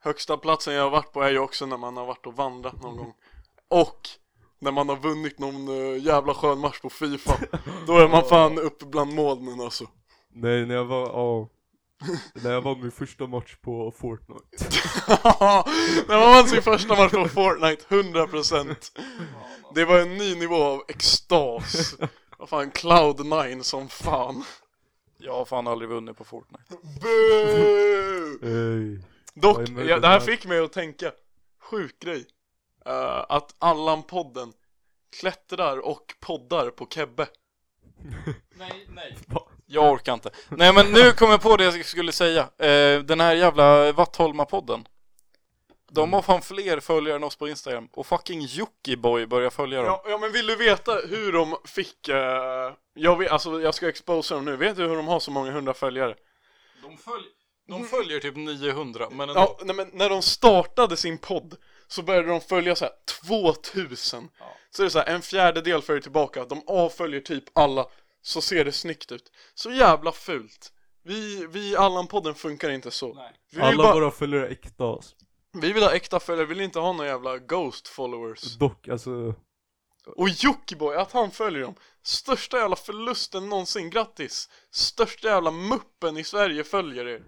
A: Högsta platsen jag har varit på är ju också när man har varit och vandrat någon gång. Och när man har vunnit någon eh, jävla skön match på Fifa. Då är man fan uppe bland molnen alltså.
B: Nej, när jag var, ja. När jag var min första match på Fortnite.
A: när man vann sin första match på Fortnite, 100%. Det var en ny nivå av extas. Vad fan, Cloud9 som fan.
C: Jag har fan aldrig vunnit på Fortnite
A: Boo!
B: Ej.
A: Dock,
B: Vad är möjligt
A: ja, det här
B: där?
A: fick mig att tänka, sjuk grej, Eh, att Allan-podden klättrar och poddar på Kebbe.
C: Nej, nej
B: Va?
C: Jag orkar inte Nej men nu kom jag på det jag skulle säga Eh, Den här jävla Vattholma-podden De har fan fler följare än oss på Instagram Och fucking Jockiboi börjar följa dem
A: Ja, ja men vill du veta hur de fick, eh, jag vet, alltså jag ska exposa dem nu, vet du hur de har så många hundra följare?
C: de, följ... de följer typ 900 men ändå
A: Ja, nej, men när de startade sin podd så började de följa så här 2000 Så det är så här, en fjärdedel följer tillbaka, de avföljer typ alla Så ser det snyggt ut Så jävla fult Vi, vi i Allan-podden funkar inte så Vi, vill
B: Alla
A: bara,
B: våra följare är äkta alltså.
A: vi vill ha äkta följare, vi vill inte ha några jävla ghost followers
B: Dock, alltså.
A: Och Jockiboi, att han följer dem Största jävla förlusten någonsin, grattis Största jävla muppen i Sverige följer er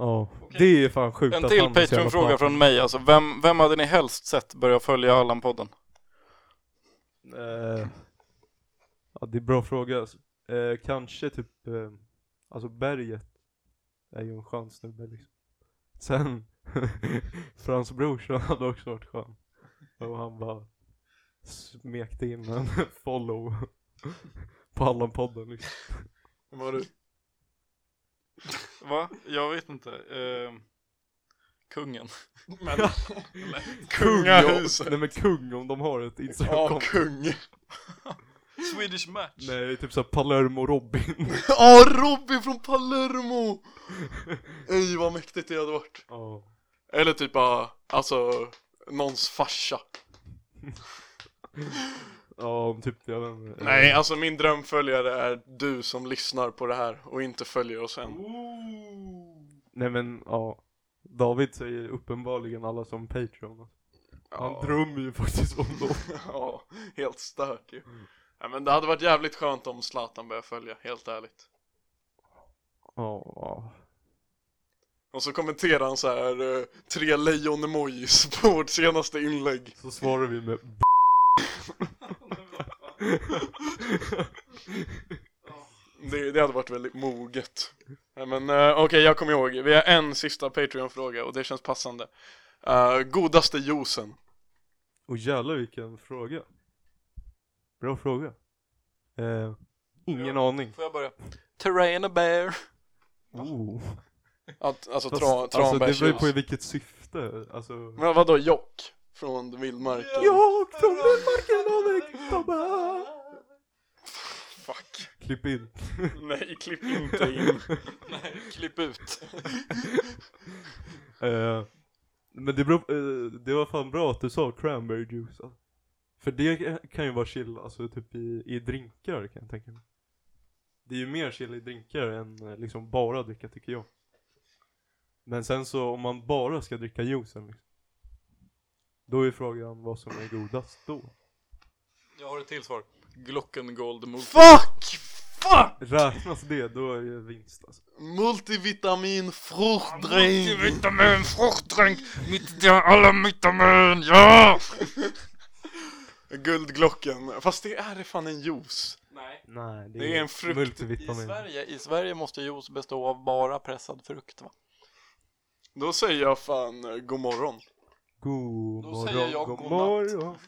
B: Ja. Det är fan sjukt
C: En
B: att
C: till
B: han är så jävla
C: Patreon-fråga
B: papp.
C: från mig alltså, vem, vem hade ni helst sett börja följa Allan-podden?
B: Eh, ja, det är en bra fråga. Alltså. Eh, kanske typ, eh, alltså berget är ju en skön snubbe liksom. Sen, Frans brorsa hade också varit skön. Och han bara smekte in en follow på Allan-podden liksom.
A: Vad du?
C: Va? Jag vet inte. Ehm, kungen.
A: Men,
B: Kung,
A: kungahuset
B: Nej men kung om de har ett
A: Ja,
B: Instagram-konto.
A: kung
C: Swedish Match.
B: Nej, typ såhär Palermo-Robin.
A: Ja, ah, Robin från Palermo! Ej vad mäktigt det hade varit.
B: Ja.
A: Eller ah, typ bara, alltså, någons farsa.
B: Ja, om typ, jag vet inte.
A: Nej, alltså min drömföljare är du som lyssnar på det här och inte följer oss än.
B: Nej men, ja. David säger uppenbarligen alla som Patreon. Han drömmer ju faktiskt om dem.
A: Ja, helt stört ju. Ja, men det hade varit jävligt skönt om Zlatan började följa, helt ärligt.
B: Ja.
A: Och så kommenterar han så här eh, tre lejon-emojis på vårt senaste inlägg.
B: Så svarar vi med b-
A: Det, det hade varit väldigt moget. Ja, men eh, okej, jag kommer ihåg. Vi har en sista Patreon-fråga och det känns passande. Eh, godaste juicen?
B: Och jävlar vilken fråga. Bra fråga. Eh, ingen aning.
C: Får jag börja? Terrain bear.
B: Oh.
A: Att, alltså
B: Fast,
A: tra,
B: alltså det beror ju
A: tranbärsjuice?
B: på i vilket syfte. Alltså.
A: Men vadå, jock? Från vildmarken?
B: Jag tog med marken
A: Fuck.
B: Klipp in.
A: Nej, klipp inte in.
C: Nej, klipp ut.
B: Eh, men det, beror, eh, det var fan bra att du sa cranberry juice. alltså. För det kan ju vara chill, alltså typ i, i drinkar kan jag tänka mig. Det är ju mer chill i drinkar än eh, liksom bara dricka tycker jag. Men sen så om man bara ska dricka juicen liksom. Då är frågan vad som är godast då.
C: Jag har ett till svar. Glockengold multi.
A: Fuck! Fuck!
B: Räknas det, då är det vinst alltså.
A: Multivitamin fruktdrink!
C: Vitamin, fruktdränk, mitt i alla vitamin, ja!
A: Guldglocken. Fast det är fan en juice.
C: Nej.
B: Nej, det,
A: Det är en frukt
C: I
B: multivitamin.
C: Sverige, I Sverige måste juice bestå av bara pressad frukt va?
A: Då säger jag fan eh, god morgon.
B: God
C: Då
B: morgon,
C: säger jag
B: god
C: godnatt.
B: morgon.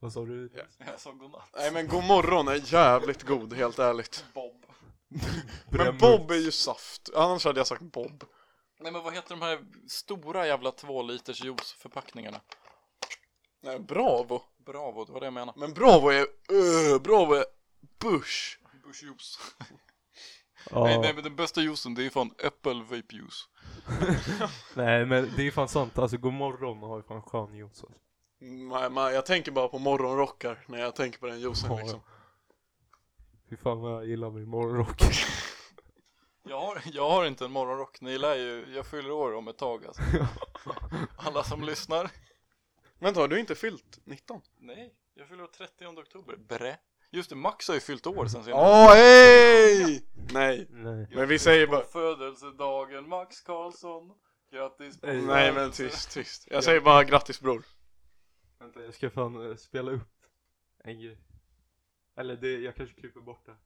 B: Vad sa du?
C: Jag sa godnatt.
A: Nej men god morgon är jävligt god, helt ärligt.
C: Bob.
A: Men Bob är ju saft. Annars hade jag sagt Bob.
C: Nej men vad heter de här stora jävla två liters juiceförpackningarna?
A: Nej, Bravo.
C: Bravo, det var det jag menade.
A: Men Bravo är... öh, bravo är Bush.
C: Bush juice.
B: Ja.
C: Nej, nej men den bästa juicen det är ju fan apple vape juice.
B: Nej men det är fan sant, alltså god morgon har ju fan skön juice alltså.
A: Nej, men jag tänker bara på morgonrockar när jag tänker på den juicen
B: Ja.
A: liksom.
B: Fy fan vad jag gillar min morgonrock.
C: Jag har, jag har inte en morgonrock, ni lär ju, jag fyller år om ett tag alltså. Alla som lyssnar.
A: Vänta, har du inte fyllt 19?
C: Nej, jag fyller år 30 oktober. Brä. Just det, Max har ju fyllt år sen senast.
A: Åh, hej! Nej.
B: Nej.
A: Men vi säger bara...
C: Födelsedagen Max Karlsson. Grattis på
B: Nej.
A: Nej men tyst, tyst. Jag säger bara grattis bror.
B: Vänta jag ska fan eh, spela upp en grej. Eller det, jag kanske klipper bort det.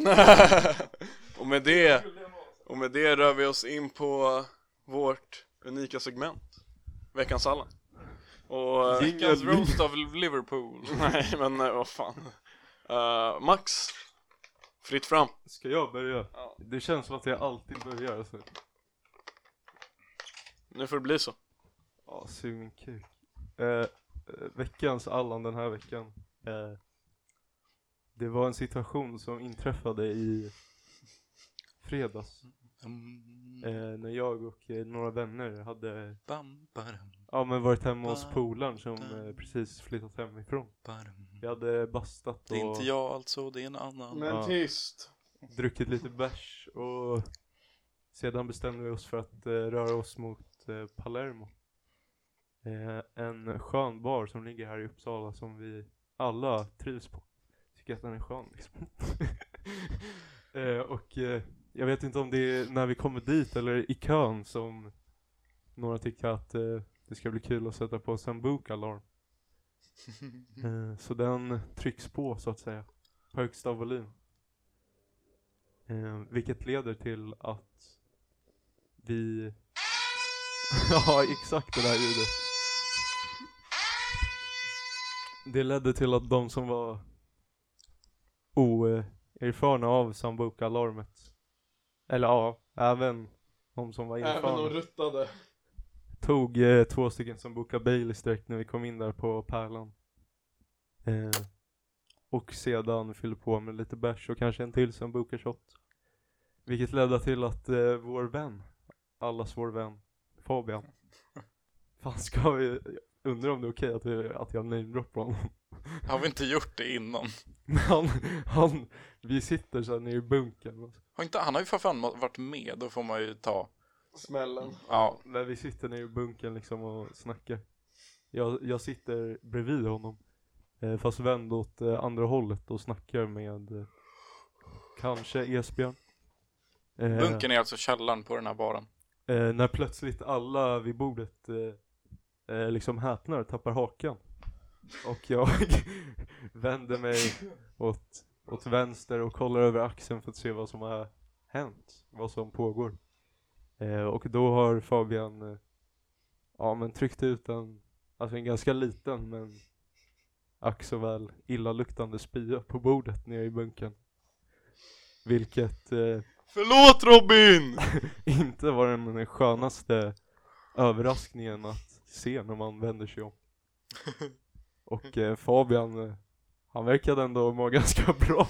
A: och med det, och med det rör vi oss in på vårt unika segment. Veckans Allan. Och... eh,
C: Veckans roast av Liverpool.
A: Nej men eh, vad fan. Eh, Max. Fritt fram.
B: Ska jag börja?
A: Ja.
B: Det känns som att jag alltid börjar alltså.
A: Nu får det bli så.
B: Ja, sug min kuk. Eh, eh, veckans Allan den här veckan. Eh, det var en situation som inträffade i fredags.
C: Mm,
B: Eh, när jag och eh, några vänner hade
C: Bam, baram,
B: Ja men varit hemma hos
C: Ah,
B: polaren som eh, precis flyttat hemifrån.
C: baram.
B: Vi hade bastat
C: Mm. Det är inte
B: och
C: jag alltså, det är en annan.
B: Men Ja.
A: tyst.
B: druckit lite bärs och sedan bestämde vi oss för att eh, röra oss mot eh, Palermo. Eh, en skön bar som ligger här i Uppsala som vi alla trivs på. Tycker att den är skön liksom. eh, och eh, jag vet inte om det är när vi kommer dit eller i kön som några tycker att eh, det ska bli kul att sätta på Sambuca-alarm. eh, så den trycks på så att säga. På högsta volym. Eh, vilket leder till att vi... ja, exakt det där ljudet. Det ledde till att de som var oerfarna av Sambuca-alarmet Eller ja, även de som var
A: Även de
B: införna.
A: ruttade.
B: Tog eh, två stycken som bokade Baileys direkt när vi kom in där på Pärlan. Eh, och sedan fyllde på med lite bärs och kanske en till som bokade shot. Vilket ledde till att eh, vår vän, allas vår vän, Fabian. Fan ska vi, jag undrar om det är okej att, vi, att jag namedroppar honom.
C: Har vi inte gjort det innan?
B: Men han, han, vi sitter så här nere i bunkern. och så-
C: Har inte, han har ju för fan varit med, då får man ju ta.
A: Smällen.
C: Ja,
B: När vi sitter nere i bunkern liksom och snackar. Jag, jag sitter bredvid honom. Eh, fast vänd åt eh, andra hållet och snackar med eh, kanske Esbjörn. Eh,
C: bunkern är alltså källaren på den här baren.
B: Eh, när plötsligt alla vid bordet eh, eh, liksom häpnar, tappar hakan. Och jag vänder mig åt, åt vänster och kollar över axeln för att se vad som har hänt, vad som pågår. Eh, och då har Fabian, eh, ja men tryckt ut en, alltså en ganska liten men ack så väl illaluktande spya på bordet nere i bunkern. Vilket eh,
A: Förlåt Robin!
B: inte var den skönaste överraskningen att se när man vänder sig om. Och eh, Fabian, eh, han verkade ändå må ganska bra.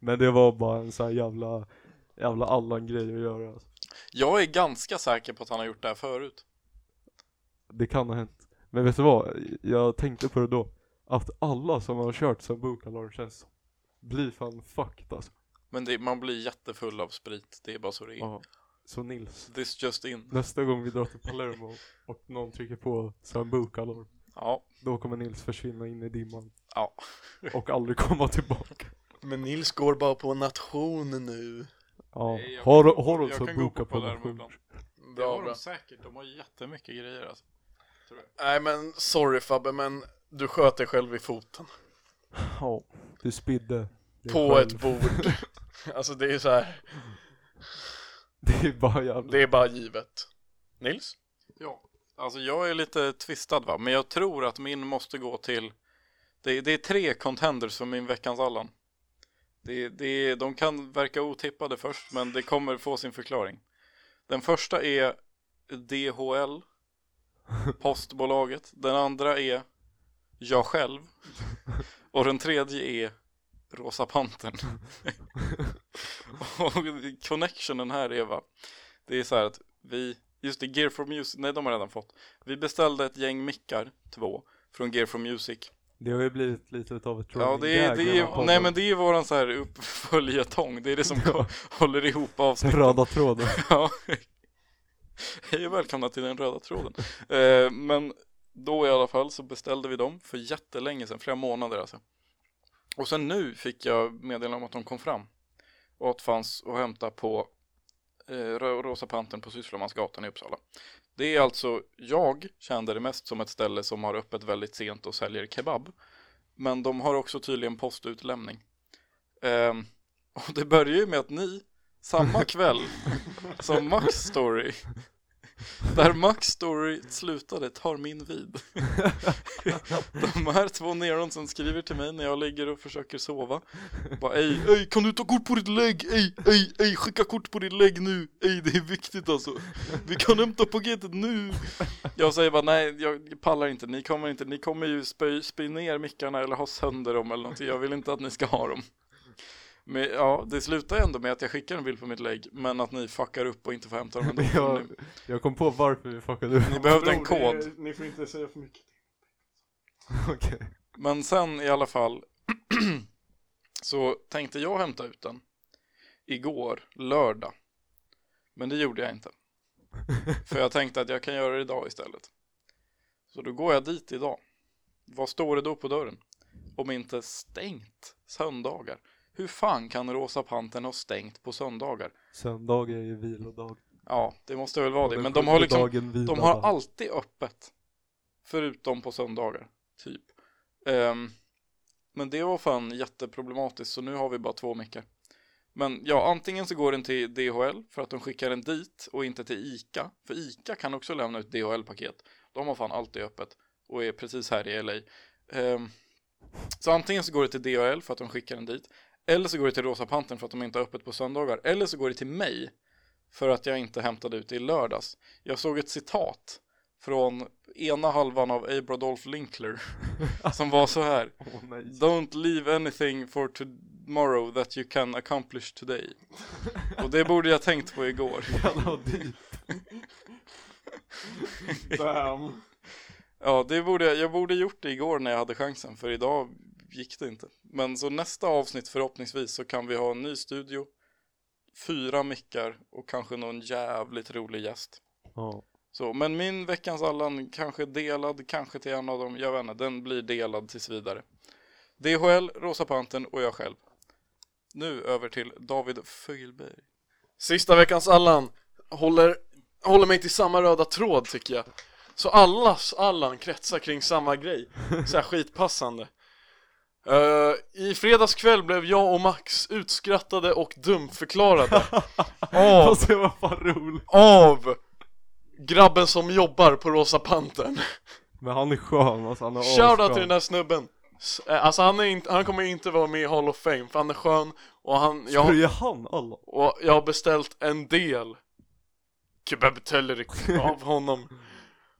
B: Men det var bara en sån här jävla, jävla Allan-grej att göra. alltså.
C: Jag är ganska säker på att han har gjort det här förut.
B: Det kan ha hänt. Men vet du vad? Jag tänkte på det då. Att alla som har kört som bokalarm känns som, blir fan fucked alltså.
C: Men det, man blir jättefull av sprit, det är bara så det är.
B: Ja. Så Nils.
C: This just in.
B: Nästa gång vi drar till Palermo och någon trycker på Sambuca-alarm,
C: Ja,
B: då kommer Nils försvinna in i dimman
C: ja.
B: och aldrig komma tillbaka.
A: Men Nils går bara på nation nu.
B: Ja,
C: Nej, jag
B: har,
C: kan gå-
B: har de
C: jag kan gå
B: Sambuca
C: på
B: på
C: Palermo
B: nation?
C: ibland. Det
A: Bra,
C: har
A: bra.
C: de säkert, de har jättemycket grejer alltså.
A: Nej men sorry Fabbe, men du sköt dig själv i foten.
B: Ja, du spydde. dig
A: På
B: själv.
A: ett bord. alltså det är så här.
B: Det är bara jävla...
A: det är bara givet. Nils?
C: Ja, alltså jag är lite tvistad va, men jag tror att min måste gå till Det, det är tre contenders för min veckans Allan. Det, det, de kan verka otippade först, men det kommer få sin förklaring. Den första är DHL, postbolaget. Den andra är jag själv. Och den tredje är Rosa Pantern. Och connectionen här är va, det är så här att vi, just det, Gear for Music, nej de har redan fått. Vi beställde ett gäng mickar, två, från Gear for Music.
B: Det har ju blivit lite utav ett
C: Ja,
B: running
C: det är,
B: gag
C: det
B: i den här
C: är,
B: podden.
C: nej men det är våran så här uppföljetong, det är det som ko- håller ihop
B: Den
C: avsnittet.
B: Röda tråden.
C: Ja. Hej och välkomna till den röda tråden. Eh, men då i alla fall så beställde vi dem för jättelänge sedan, flera månader alltså. Och sen nu fick jag meddelande om att de kom fram och att fanns att hämta på eh, Rö- Rosa Panten på Sysslamansgatan i Uppsala. Det är alltså, jag kände det mest som ett ställe som har öppet väldigt sent och säljer kebab. Men de har också tydligen postutlämning. Ehm, och det börjar ju med att ni, samma kväll som Max Story, där Max Story slutade tar min vid. De här två neron som skriver till mig när jag ligger och försöker sova. Bara ej, ej, kan du ta kort på ditt lägg? Ej, ej, ej, skicka kort på ditt lägg nu. Ej, det är viktigt alltså. Vi kan hämta paketet nu. Jag säger bara nej, jag pallar inte. Ni kommer inte, ni kommer ju spy, spy ner mickarna eller ha sönder dem eller någonting. Jag vill inte att ni ska ha dem. Men ja, det slutar ändå med att jag skickar en bild på mitt lägg, men att ni fuckar upp och inte får hämta dem ändå.
B: jag, jag kom på varför vi fuckade upp.
C: Ni behövde en kod.
A: Ni får inte säga för mycket.
B: Okej.
C: Men sen i alla fall så tänkte jag hämta ut den igår, lördag. Men det gjorde jag inte. För jag tänkte att jag kan göra det idag istället. Så då går jag dit idag. Vad står det då på dörren? Om inte stängt söndagar. Hur fan kan Rosa Panten ha stängt på söndagar?
B: Söndag är ju vilodag.
C: Ja, det måste väl vara det.
B: Den
C: Men de har
B: sjunde
C: liksom
B: dagen vila
C: de
B: där.
C: har alltid öppet. Förutom på söndagar, typ. Ehm, men det var fan jätteproblematiskt, så nu har vi bara två mickar. Men ja, antingen så går den till DHL för att de skickar den dit och inte till ICA. För ICA kan också lämna ut DHL-paket. De har fan alltid öppet och är precis här i LA. Ehm, så antingen så går det till DHL för att de skickar den dit. Eller så går det till Rosa Pantern för att de inte har öppet på söndagar. Eller så går det till mig för att jag inte hämtade ut det i lördags. Jag såg ett citat från ena halvan av Abradolf Linkler som var så här.
B: Åh nej.
C: Don't leave anything for tomorrow that you can accomplish today. Och det borde jag tänkt på igår.
B: Jävlar vad dyrt. Damn.
C: Ja, det borde jag, jag borde gjort det igår när jag hade chansen, för idag gick det inte. Men så nästa avsnitt förhoppningsvis så kan vi ha en ny studio, fyra mickar och kanske någon jävligt rolig gäst.
B: Ja.
C: Så, men min veckans Allan kanske delad, kanske till en av dem, jag vet inte, den blir delad tills vidare. DHL, Rosa Panten och jag själv. Nu över till David Fögelberg.
A: Sista veckans Allan håller, håller mig till samma röda tråd tycker jag. Så allas Allan kretsar kring samma grej. Så här skitpassande. Eh, I fredags kväll blev jag och Max utskrattade och dumförklarade av,
B: Fast det var fan roligt.
A: av grabben som jobbar på Rosa Pantern.
B: Men han är skön alltså, han är
A: Shoutout till den där snubben. S- eh, Alltså han, är inte, han kommer inte vara med i Hall of Fame för han är skön och han, jag,
B: Ja.
A: har-
B: Är han alla?
A: och jag har beställt en del kebabtellerick av honom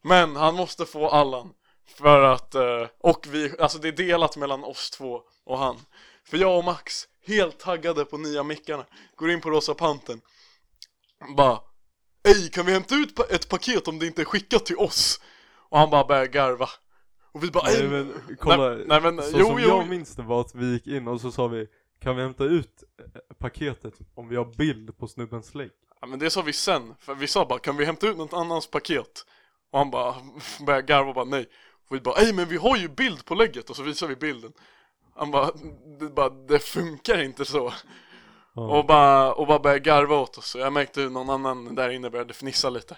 A: Men han måste få Allan För att, eh, och vi, alltså det är delat mellan oss två och han För jag och Max, helt taggade på nya mickarna Går in på Rosa Panten Bara Ey, kan vi hämta ut pa- ett paket om det inte är skickat till oss? Och han bara börjar garva Och vi bara
B: Nej
A: "Ey."
B: men kolla,
A: nej, men,
B: så
A: jo,
B: som
A: jo.
B: jag minns det var att vi gick in och så sa vi Kan vi hämta ut eh, paketet om vi har bild på snubbens lägg?
A: Ja men det sa vi sen, för vi sa bara kan vi hämta ut något annans paket? Och han bara började garva och bara nej Och vi bara ej men vi har ju bild på lägget och så visar vi bilden Han bara det, bara, det funkar inte så
B: Ja.
A: och bara, och bara började garva åt oss och jag märkte hur någon annan där inne började fnissa lite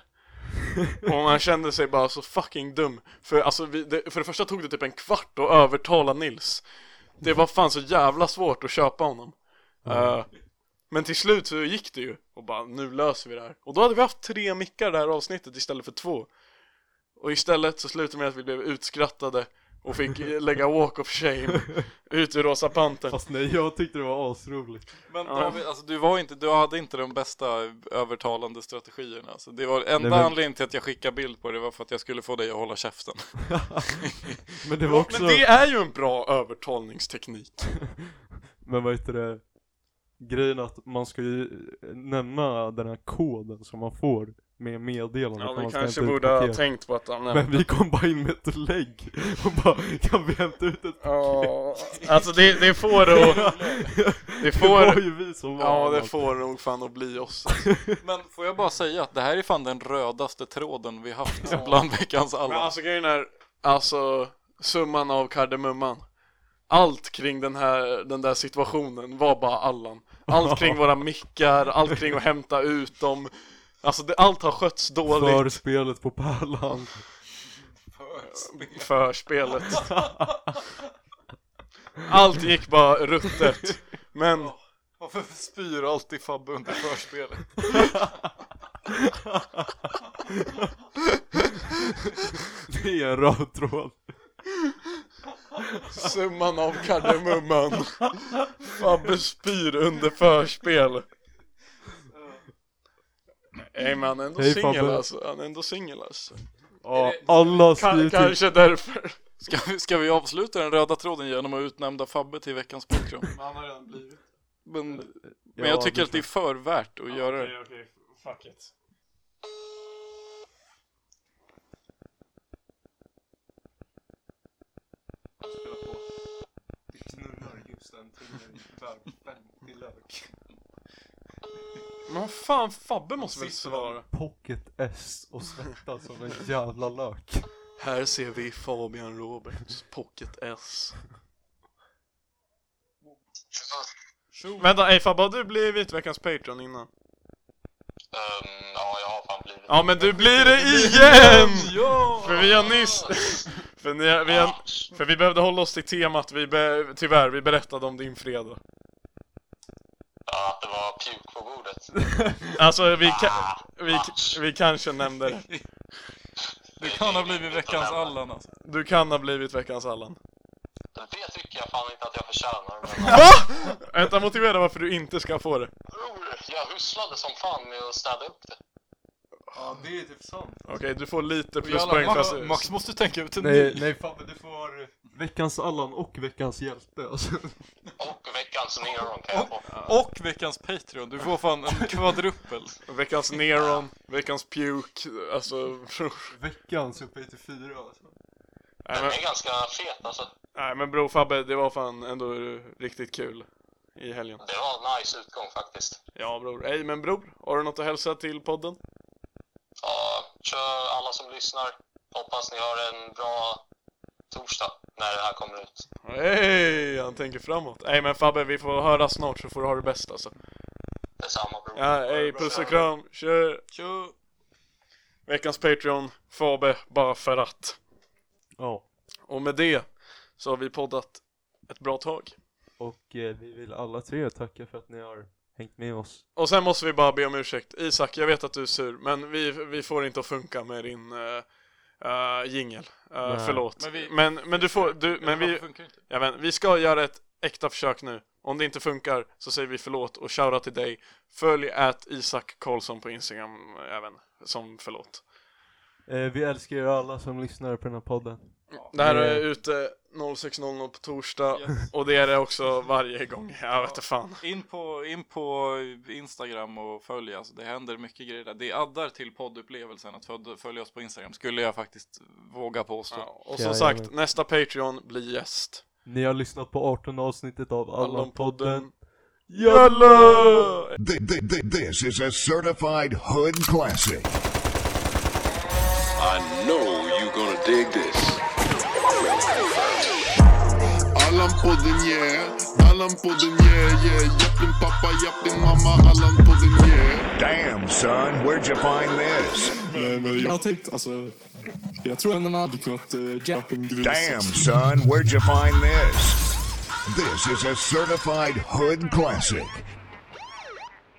A: Och man kände sig bara så fucking dum För alltså vi, det, för det första tog det typ en kvart att övertala Nils Det var fan så jävla svårt att köpa honom Eh, Men till slut så gick det ju och bara nu löser vi det här Och då hade vi haft tre mickar det här avsnittet istället för två Och istället så slutade det med att vi blev utskrattade och fick eh, lägga walk of shame ut ur Rosa Pantern
B: Fast nej jag tyckte det var asroligt
C: Men
A: Ja.
C: David, alltså, du, var inte, du hade inte de bästa övertalande strategierna. Alltså, det var enda
B: Nej, men-
C: anledningen till att jag skickade bild på det var för att jag skulle få dig att hålla käften.
B: Men det var också,
A: Men
B: men,
A: det är ju en bra övertalningsteknik
B: vad heter det? Grejen att man ska ju eh, nämna den här koden som man får med meddelandet
A: Ja,
B: när man
A: vi
B: ska
A: kanske
B: hämta ut
A: borde ha
B: paket.
A: tänkt på att han
B: Men vi kom bara in med ett lägg och bara Kan vi hämta ut ett
A: Ja, alltså det, det får det att... Det
B: Det var
A: får...
B: ju vi som var
A: Ja, det
B: alltså.
A: får nog fan att bli oss.
C: Men får jag bara säga att det här är fan den rödaste tråden vi haft bland veckans
A: Men
C: alla.
A: alltså grejen är, alltså summan av kardemumman. Allt kring den här, den där situationen var bara Allan. Allt kring våra mickar, allt kring att hämta ut dem. Alltså det, allt har skötts dåligt.
B: Förspelet på Pärlan.
A: förspelet. Allt gick bara ruttet. Men
C: Varför spyr alltid Fabbe under förspelet?
B: Det är en röd tråd.
A: Summan av kardemumman Fabbe spyr under förspel Nej men han är ändå
B: Hej,
A: singel
B: Fabbe.
A: alltså, han är ändå singel alltså
B: Ja, alla har
A: Ka-
B: skrivit in.
A: Kanske därför
C: Ska, vi- ska vi avsluta den röda tråden genom att utnämna Fabbe till veckans patron?
A: Han har redan blivit
C: Men, men
B: Ja,
C: jag tycker
B: det
C: att det är för värt att göra det.
A: okej, fuck it Men vad fan, Fabbe måste väl svara?
B: Pocket S och svettas som en jävla lök.
A: Här ser vi Fabian Roberts Pocket S Tjo. Vänta, ey Fabbe har du blivit veckans Patreon innan?
F: Ehm, ja, jag har fan blivit
A: Ja men du blir det igen! För vi har nyss... För, ni, har- vi, har, för vi behövde hålla oss till temat, vi be, tyvärr, vi berättade om din fredag
F: ja, att det var puk på bordet.
A: Alltså vi, ka, vi, vi kanske nämnde det
C: Du kan ha blivit veckans Allan alltså.
A: Du kan ha blivit veckans Allan
F: Det tycker jag fan inte att jag förtjänar. Men
A: Vänta, motivera varför du inte ska få det.
F: Oh, jag husslade som fan med att städa upp det.
B: Ja det är typ sant.
A: Okej, du får lite
C: Jävlar,
A: pluspoäng
C: Max,
A: fast...
C: Max måste tänka ut en
B: Nej,
C: ny.
B: nej fan men du får veckans Allan och veckans hjälte alltså.
F: Och veckans Neron kan jag få.
C: Och veckans Patreon, du får fan en kvadrupel.
A: Veckans Neron, veckans Puke, alltså...
B: Veckans uppe i till fyra alltså.
A: nej,
F: Den
A: men,
F: är ganska fet alltså.
A: nej men bror Fabbe, det var fan ändå riktigt kul i helgen.
F: Det var en nice utgång faktiskt.
A: Ja bror. Ej men bror, har du något att hälsa till podden?
F: Ja, kör alla som lyssnar. Hoppas ni har en bra torsdag när det här kommer ut.
A: Hej, han tänker framåt. Nej men Fabbe, vi får höra snart så får du ha det bäst alltså.
F: Detsamma bror.
A: Ja, hej, puss och kram, kör!
C: Tjo!
A: Veckans Patreon, Fabbe, bara för att.
B: Ja.
A: Och med det så har vi poddat ett bra tag.
B: Och eh, vi vill alla tre tacka för att ni har hängt med oss.
A: Och sen måste vi bara be om ursäkt. Isak, jag vet att du är sur, men vi, vi får inte att funka med din uh, jingel. Eh,
B: Nej.
A: förlåt. Men,
C: Men vi-
A: men, du får, du, men vi,
C: funkar inte.
A: ja, men, vi ska göra ett äkta försök nu. Om det inte funkar så säger vi förlåt och shoutout till dig. Följ att Isak Karlsson på Instagram även, som förlåt.
B: Eh, vi älskar er alla som lyssnar på den här podden.
A: Det här
B: Det-
A: är ute 06.00 på torsdag
C: Ja.
A: och det är det också varje gång. Jag vet inte fan.
C: In på, in på Instagram och följ alltså. Det händer mycket grejer där. Det addar till poddupplevelsen att följ- följa oss på Instagram skulle jag faktiskt våga påstå.
A: Ja, och
B: Ja,
A: som
B: jag
A: sagt,
B: vet.
A: nästa Patreon blir gäst.
B: Ni har lyssnat på 18 avsnittet av Allan-podden.
A: Allonpodden.
B: Jalla!
G: Th- th- th- This is a certified hood classic.
H: I know you're gonna dig this.
I: Allan podden yeah, Allan podden yeah yeah Japp din pappa, japp din mamma, Allan podden yeah
G: Damn, son, where'd you find this?
J: Men, men jag har tänkt, alltså, jag tror ändå man hade kunnat uh, göra en grus.
G: Damn, son, where'd you find this? This is a certified hood classic.